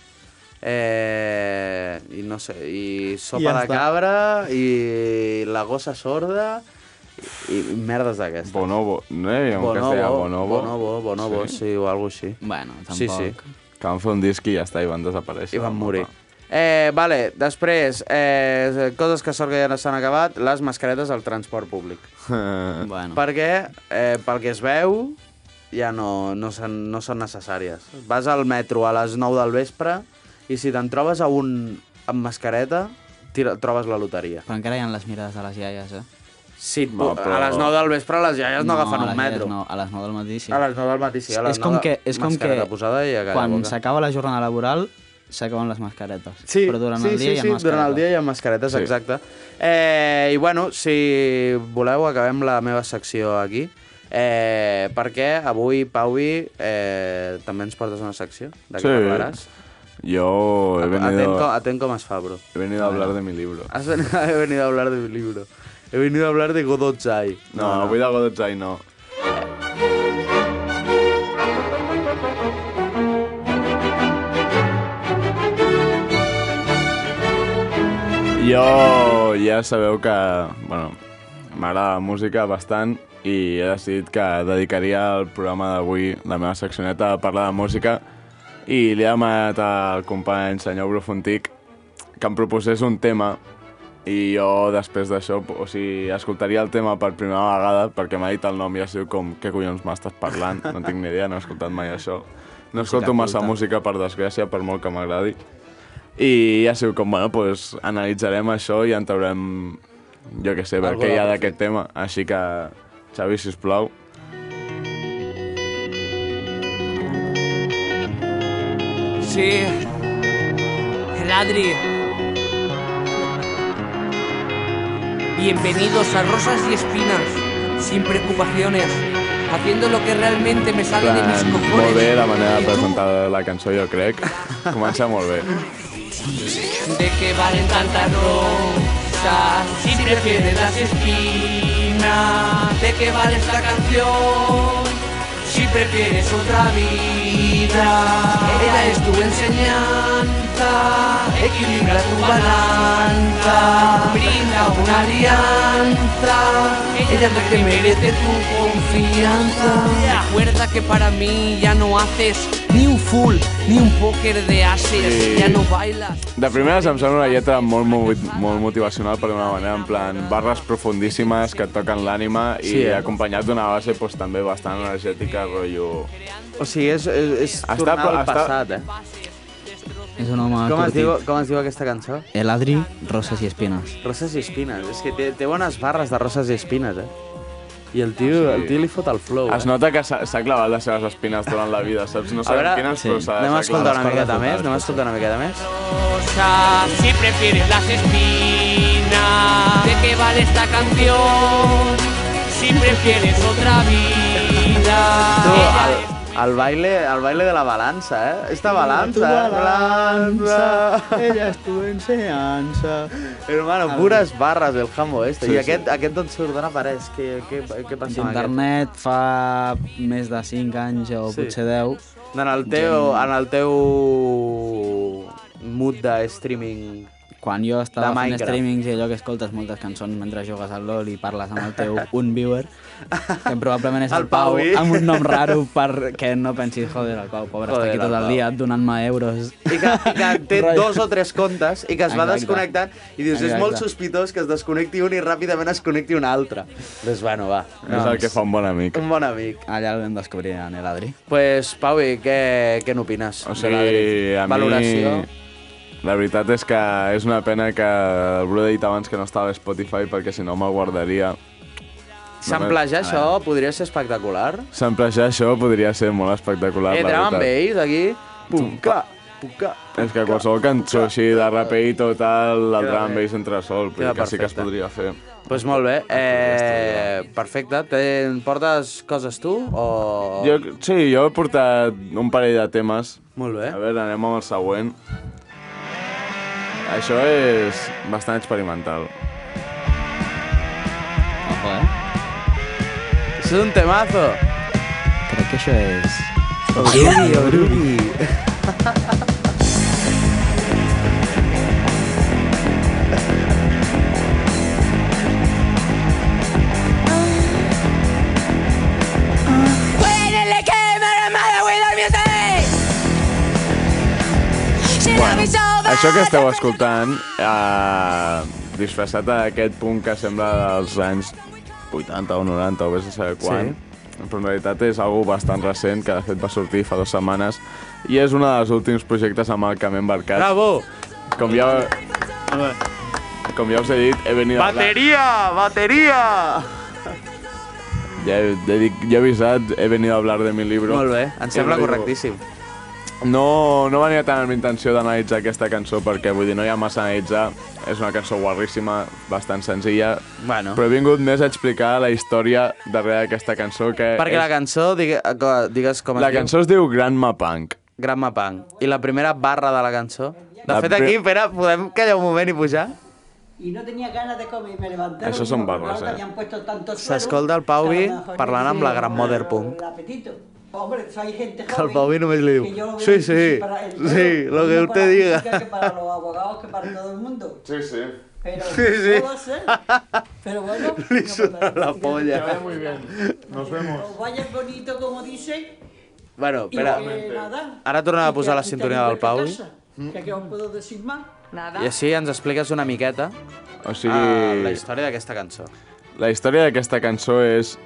B: eh, i no sé, i sopa
C: Ja
B: de
C: està.
B: cabra, i la gossa sorda, i, i merdes d'aquestes.
G: Bonobo. No hi havia un castellà, Bonobo.
B: Bonobo, Bonobo, sí, sí o alguna així.
C: Bueno, tampoc.
B: Sí, sí.
G: Que van fer un disc i ja està, i van desaparèixer.
B: I van
G: del
B: morir.
G: mapa.
B: Eh, vale, després, eh, coses que sort que ja no s'han acabat, les mascaretes al transport públic.
C: Bueno.
B: Perquè, eh, pel que es veu, ja no, no, són, no són necessàries. Vas al metro a les 9 del vespre i si te'n trobes a un amb mascareta, tira, trobes la loteria.
C: Però encara hi ha les mirades de les iaies, eh?
B: Si et
G: No,
B: pu-
G: però-
B: A les 9 del vespre les iaies no,
C: a
B: agafen
C: les
B: un
C: iaies
B: metro.
C: No, a les 9 del matí sí.
B: A les 9 del matí, sí. A les
C: és com
B: 9
C: que, és com que
B: mascareta posada i a cada
C: quan
B: boca.
C: s'acaba la jornada laboral s'acaben les mascaretes.
B: Sí,
C: però durant
B: sí,
C: el dia
B: sí,
C: hi ha
B: sí,
C: mascaretes.
B: durant el dia hi ha mascaretes, sí.
G: Sí.
B: exacte. Eh, I bueno, si voleu, acabem la meva secció aquí. Eh, perquè avui, Pauvi, eh, també ens portes una secció de què
G: Sí.
B: parlaràs.
G: Yo he
B: Atent com,
G: venido,
B: atent com es fa, bro.
G: he venido a hablar de mi libro.
B: Has ven- he venido a hablar de mi libro. He venido a hablar de Godotzai.
G: No, voy a Godotzai, no. Jo ja sabeu que, bueno, m'agrada la música bastant i he decidit que dedicaria el programa d'avui, la meva seccioneta, a parlar de música i li he demanat al company senyor Brufontic que em proposés un tema i jo després d'això, o sigui, escoltaria el tema per primera vegada perquè m'ha dit el nom i ha sigut com, què collons m'estàs parlant? No tinc ni idea, no he escoltat mai això. No escolto massa música, per desgràcia, per molt que m'agradi. I ha sigut com, bueno, doncs analitzarem això i en traurem, jo què sé,
B: Algo
G: perquè hi ha
B: de
G: d'aquest tema. Així que, Xavi, sisplau,
A: Sí, el Adri. Bienvenidos a Rosas y Espinas, sin preocupaciones, haciendo lo que realmente me sale de mis
G: plan,
A: cojones.
G: molt bé la
A: ¿Y
G: manera de
A: tú?
G: presentar la cançó, jo crec. Comença molt bé.
A: ¿De qué valen tantas rosas si prefieres las espinas? ¿De qué vale esta canción si prefieres otra vida? Ella es tu enseñanza, equilibra tu balanza, brinda una alianza, ella es la que merece tu confianza. Recuerda que para mí ya no haces ni un full, ni un póker de ases, ya no bailas.
G: Eh, De primeres em sembla una lletra molt, molt, molt motivacional per una manera, en plan, barres profundíssimes que et toquen l'ànima i
B: Sí, eh?
G: acompanyat d'una base pues, també bastant energètica, rotllo...
B: O sigui, és, és, és
G: Està-
B: tornar al
G: està-
B: passat, eh?
C: És un home
B: Com es,
C: curtit.
B: diu, com es diu aquesta cançó?
C: El Adri, Roses i Espines.
B: Roses i espines. És que té, té bones barres de roses i espines, eh? I el tio, el tio li fot el flow,
G: Es
B: eh?
G: nota que s'ha s'ha clavat les seves espines durant la vida, saps? No
B: A
G: sabem
B: veure,
G: quines,
B: sí.
G: però s'ha
B: anem a
G: s'ha
B: escoltar una
G: clavat.
B: miqueta més, anem a escoltar una miqueta més.
A: rosa, si prefieres las espinas. ¿De qué vale esta canción? Si prefieres otra vida.
B: Tu,
A: Ella
B: el,
A: es
B: el, baile, el baile de la balança, eh? Esta balança, balança...
C: ella és tu enseñança.
B: Hermano, pures barres del jambo este.
G: Sí,
B: I
G: sí.
B: aquest, aquest d'on surt, d'on apareix? Què, què, què passa amb aquest?
C: Internet fa més de 5 anys o
B: Sí.
C: potser 10.
B: En el teu, en el teu mood de streaming
C: quan jo
B: De
C: estava fent
B: Minecraft.
C: streamings i allò que escoltes moltes cançons mentre jugues al LOL i parles amb el teu un viewer, que probablement és el,
B: El Pau, i-
C: amb un nom raro perquè no pensis, joder, el Pau, pobre,
B: Joder,
C: està aquí tot
B: el
C: el
B: Pau."
C: dia donant-me euros.
B: I que, i que té
C: Rotllo.
B: dos o tres comptes i que es va
C: Exacte.
B: desconnectant i dius, és
C: Exacte.
B: molt sospitós que es desconnecti un i ràpidament es connecti un altre. Doncs bueno, va.
G: És el que fa un bon amic.
B: Un bon amic.
C: Allà el vam descobrir en l'Adri.
B: Pues, Pau, i què, què n'opines?
G: O
B: de
G: sigui,
B: l'Adri?
G: a mi...
B: Valoració.
G: La veritat és que és una pena que el Bru ha dit abans que no estava a Spotify perquè si no me'l guardaria. Ah,
B: Samplejar això podria ser espectacular.
G: Samplejar això podria ser molt espectacular, la
B: Entrem Eh, amb
G: veritat.
B: ells aquí. Punca, punca.
G: És que qualsevol cançó així de rapell total, el
B: Queda
G: drum
B: bé.
G: bass entre sol,
B: Queda
G: però que sí que es
B: perfecte.
G: podria fer.
B: Pues molt
G: Ah,
B: bé. Eh, perfecte. Te, portes coses tu o...?
G: Jo, sí, jo he portat un parell de temes.
B: Molt bé.
G: A veure, anem amb el següent. Això és bastant experimental.
C: Ojo, eh?
B: És un temazo.
C: Crec que això és...
B: Orubi, orubi.
G: Això que esteu escoltant, eh, disfressat d'aquest punt que sembla dels anys 80 o 90 o vés a saber quan, sí. però en realitat és algo bastant recent que de fet va sortir fa dues setmanes i és un dels últims projectes amb el que m'he embarcat.
B: Bravo.
G: Com ja... Com ja us he dit, he venido a hablar...
B: Bateria, bateria.
G: Ja he, ja he dit- ja he avisat, he venido a hablar de mi libro.
B: Molt bé, em sembla
G: I lo digo.
B: correctíssim.
G: No, no venia tant amb intenció d'analitzar aquesta cançó perquè vull dir, no hi ha massa a analitzar és una cançó guarríssima, bastant senzilla
B: Bueno.
G: però he vingut més a explicar la història darrere d'aquesta cançó que
B: Perquè la
G: és,
B: cançó, digue, eh, co- digues com es
G: la
B: diu,
G: cançó es diu Grandma Punk
B: Gramma Punk. I la primera barra de la cançó. De
G: La
B: fet,
G: pri-
B: aquí, espera, podem callar un moment i pujar?
I: Y no tenía ganas de comer, me levanté.
G: Això són barres, eh?
I: Han puesto tanto
B: S'escolta el Pauvi parlant amb la gran Mother Punk.
I: apetito. Hombre, soy gente
B: Que el Pauvi només li diu, sí, sí, sí, lo que usted diga.
I: para los abogados, que para todo el mundo.
G: Sí, sí
I: Pero
B: Sí, sí.
I: puedo hacer. Pero bueno,
B: Li
I: no
B: suda
I: pasa
B: la
I: nada.
B: polla.
G: Muy bien, nos vemos
I: Os vayas bonito, como dicen.
B: Bueno,
I: y
B: espera,
I: que nada.
B: ara tornem a
I: Y
B: posar
I: que
B: la
I: aquí
B: sintonia
I: tenéis
B: del
I: vuestra
B: Pauvi.
I: casa. Que aquí os puedo decir más. Nada.
B: I així ens expliques una miqueta
G: o
B: sí. uh, la
G: sigui,
B: història d'aquesta cançó.
G: La història d'aquesta cançó és...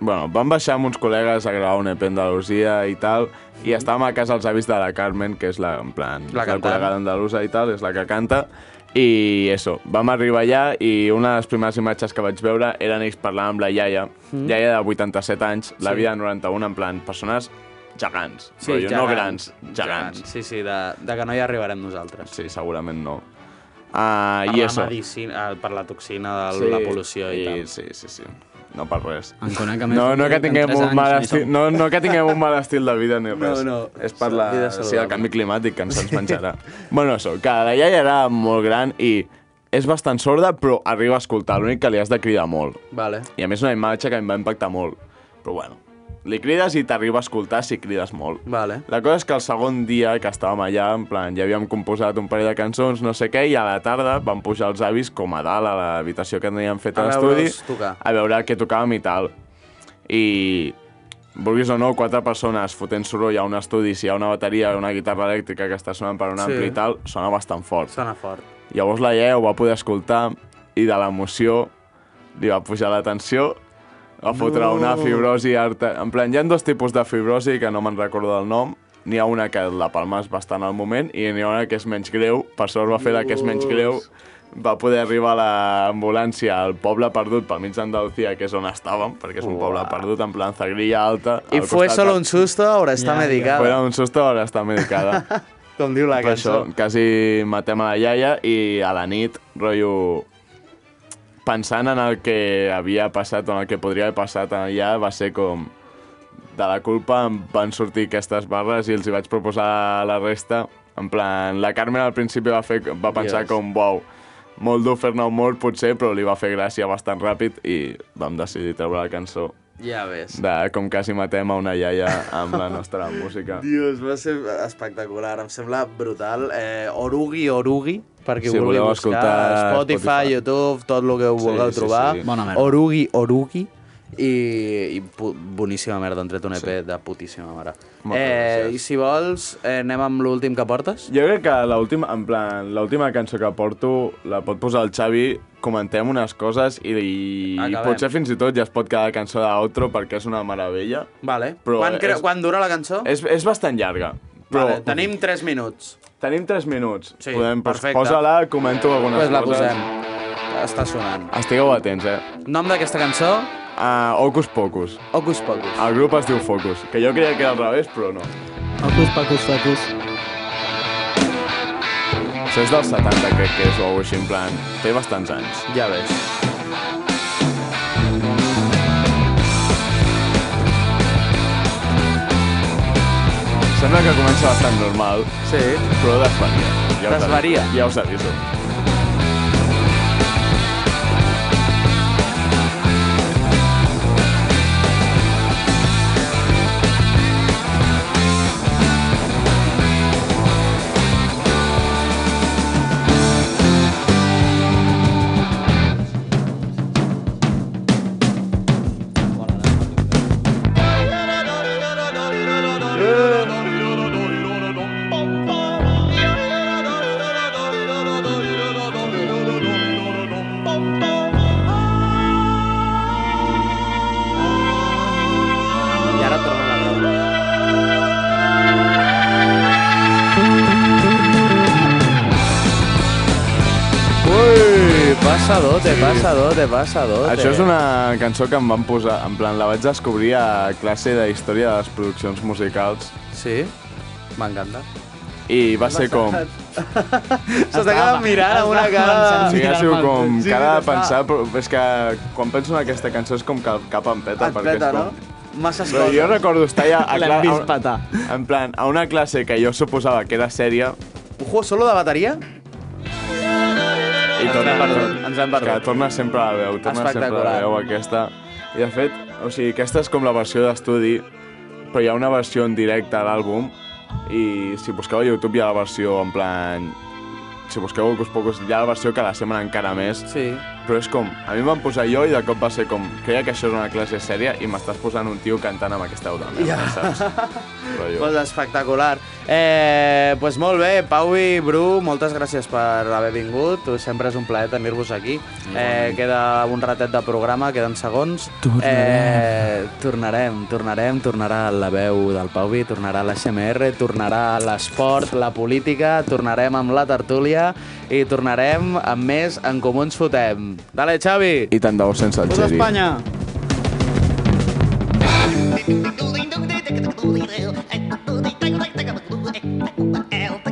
G: Bueno, vam baixar amb uns col·legues a gravar un EP a Andalusia i tal, i estàvem a casa els avis de la Carmen, que és la, en plan,
B: La
G: és la
B: cantant.
G: col·lega d'Andalusa i tal, és la que canta, i això, vam arribar allà i una de les primeres imatges que vaig veure eren ells parlant amb la iaia, iaia de 87 anys, l'àvia de 91, en plan, persones gegants, sí, però jo no grans, gegants.
B: Sí, sí, de, de que no hi arribarem nosaltres.
G: Sí, segurament no. Uh,
B: Per,
G: I
B: la
G: això.
B: medicina, eh, per la toxina de la pol·lució i, tal.
G: Sí, sí, sí. No per res.
C: En conec a més
G: No,
C: un
G: no que
C: tio en
G: tinguem
C: tres
G: un
C: anys
G: mal
C: ni
G: estil,
C: som-
G: no, no que tinguem un mal estil de vida ni
B: No,
G: res.
B: no.
G: És per la,
B: Vida
G: sí,
B: saludable.
G: el canvi climàtic que ens ens menjarà. bueno, això, que la iaia era molt gran i és bastant sorda, però arriba a escoltar. L'únic que li has de cridar molt.
B: Vale.
G: I a més una imatge que em va impactar molt. Però bueno, li crides i t'arriba a escoltar si crides molt.
B: Vale.
G: La cosa és que el segon dia que estàvem allà, en plan, ja havíem composat un parell de cançons, no sé què, i a la tarda van pujar els avis com a dalt a l'habitació que teníem fet
B: A
G: a l'estudi
B: veure'ls tocar.
G: a veure què tocàvem i tal. I vulguis o no, quatre persones fotent soroll a un estudi, si hi ha una bateria o una guitarra elèctrica que està sonant per un
B: Sí.
G: ampli i tal, sona bastant fort.
B: Sona fort.
G: Llavors la iaia ho va poder escoltar i de l'emoció li va pujar la tensió, va fotre no. una fibrosi... Arter... En plan, hi ha dos tipus de fibrosi que no me'n recordo el nom, n'hi ha una que la palmes bastant al moment i n'hi ha una que és menys greu, per sort va fer la que és menys greu, va poder arribar l'ambulància al poble perdut pel mig d'Andalucía, que és on estàvem, perquè és un poble perdut, en plan Zagrilla Alta.
B: I
G: al
B: fue
G: costat
B: solo
G: de-
B: un susto, ahora está medicada.
G: Fue un susto, ara està medicada.
B: Com diu la
G: Per
B: cançó.
G: això, quasi matem a la iaia i a la nit, rotllo... Pensant en el que havia passat o en el que podria haver passat allà, va ser com... De la culpa em van sortir aquestes barres i els hi vaig proposar a la resta. En plan, la Carmen al principi va, fer, va pensar
B: Yes.
G: com, wow, molt dur fer-ne humor, potser, però li va fer gràcia bastant ràpid i vam decidir treure la cançó
B: Ja ves.
G: de com quasi matem a una iaia amb la nostra música.
B: Dios, va ser espectacular, em sembla brutal. Eh, orugi, orugi, per qui
G: Si
B: vulgui
G: voleu
B: buscar,
G: escoltar
B: Spotify,
G: Spotify.
B: YouTube, tot el que ho
G: Sí,
B: vulgueu
G: sí,
B: trobar.
G: sí. Bona merda.
B: Orugi, Orugi, i, i pu- boníssima merda, han tret un EP de putíssima mare.
G: Moltes
B: Eh,
G: gràcies.
B: I si vols, eh, anem amb l'últim que portes?
G: Jo crec que l'última, en plan, l'última cançó que porto la pot posar el Xavi, comentem unes coses i, i
B: Acabem.
G: potser fins i tot ja es pot quedar cançó d'outro perquè és una meravella.
B: Vale.
G: Però
B: quan, cre-
G: és-
B: quan dura la cançó?
G: És, és bastant llarga. Però
B: Vale, tenim 3 minuts.
G: Tenim 3 minuts.
B: Sí,
G: Podem, doncs,
B: perfecte.
G: Posa-la, comento algunes
B: Pues la
G: coses.
B: posem. Està sonant.
G: Estigueu atents, eh?
B: Nom d'aquesta cançó?
G: Uh, Ocus Pocus.
B: Ocus Pocus.
G: El grup es diu Focus, que jo creia que era al revés, però no.
C: Pacus, pacus, pacus.
G: Això és dels 70, crec que és, o alguna cosa així, en plan, té bastants anys.
B: Ja ves.
G: Sembla que comença bastant normal. Sí. Però desvaria. Ja us aviso.
B: Desvaria.
G: Ja us aviso.
B: I ara torna la veu. Ui, pasadote, pasadote, pasadote.
G: Això és una cançó que em van posar, en plan, la vaig descobrir a classe de història de les produccions musicals
B: Sí? M'encanta.
G: i va ser com...
B: S'està quedant mirant amb una cara...
G: Sí, ha sigut com
B: Sí,
G: cara de
B: està-
G: pensar, però és que quan penso en aquesta cançó és com que el cap em peta.
B: Et
G: perquè
B: peta,
G: és
B: no?
G: com...
B: Masses
G: Però jo
B: coses.
G: recordo estar ja a,
C: L'hem
G: cla-
C: vist
G: a,
C: petar.
G: en plan, a una classe que jo suposava que era sèria
B: Un juego solo de bateria?
G: i torna,
B: hem perdut, ens hem perdut.
G: Que torna sempre a la veu, torna sempre a la
B: Espectacular.
G: veu aquesta. I de fet, o sigui, aquesta és com la versió d'estudi, però hi ha una versió en directe a l'àlbum i si busqueu a YouTube hi ha la versió en plan... Si busqueu Hocus Pocus hi ha la versió que la sembla encara més.
B: Sí.
G: Però és com, a mi em van posar jo i de cop va ser com, creia que això era una classe sèria i m'estàs posant un tio cantant amb aquesta veu de merda, saps? Però jo...
B: Pues espectacular. Eh, pues molt bé, Pau i Bru, moltes gràcies per haver vingut. Sempre és un plaer tenir-vos aquí. Eh, queda un ratet de programa, queden segons. Eh, tornarem, tornarem, tornarà la veu del Pau i tornarà la CMR, tornarà l'esport, la política, tornarem amb la tertúlia i tornarem amb més En Comú Ens Fotem. Dale, Xavi!
G: I tant de bo sense el
C: Pues
G: Xeri.
C: Espanya!
J: Thank you.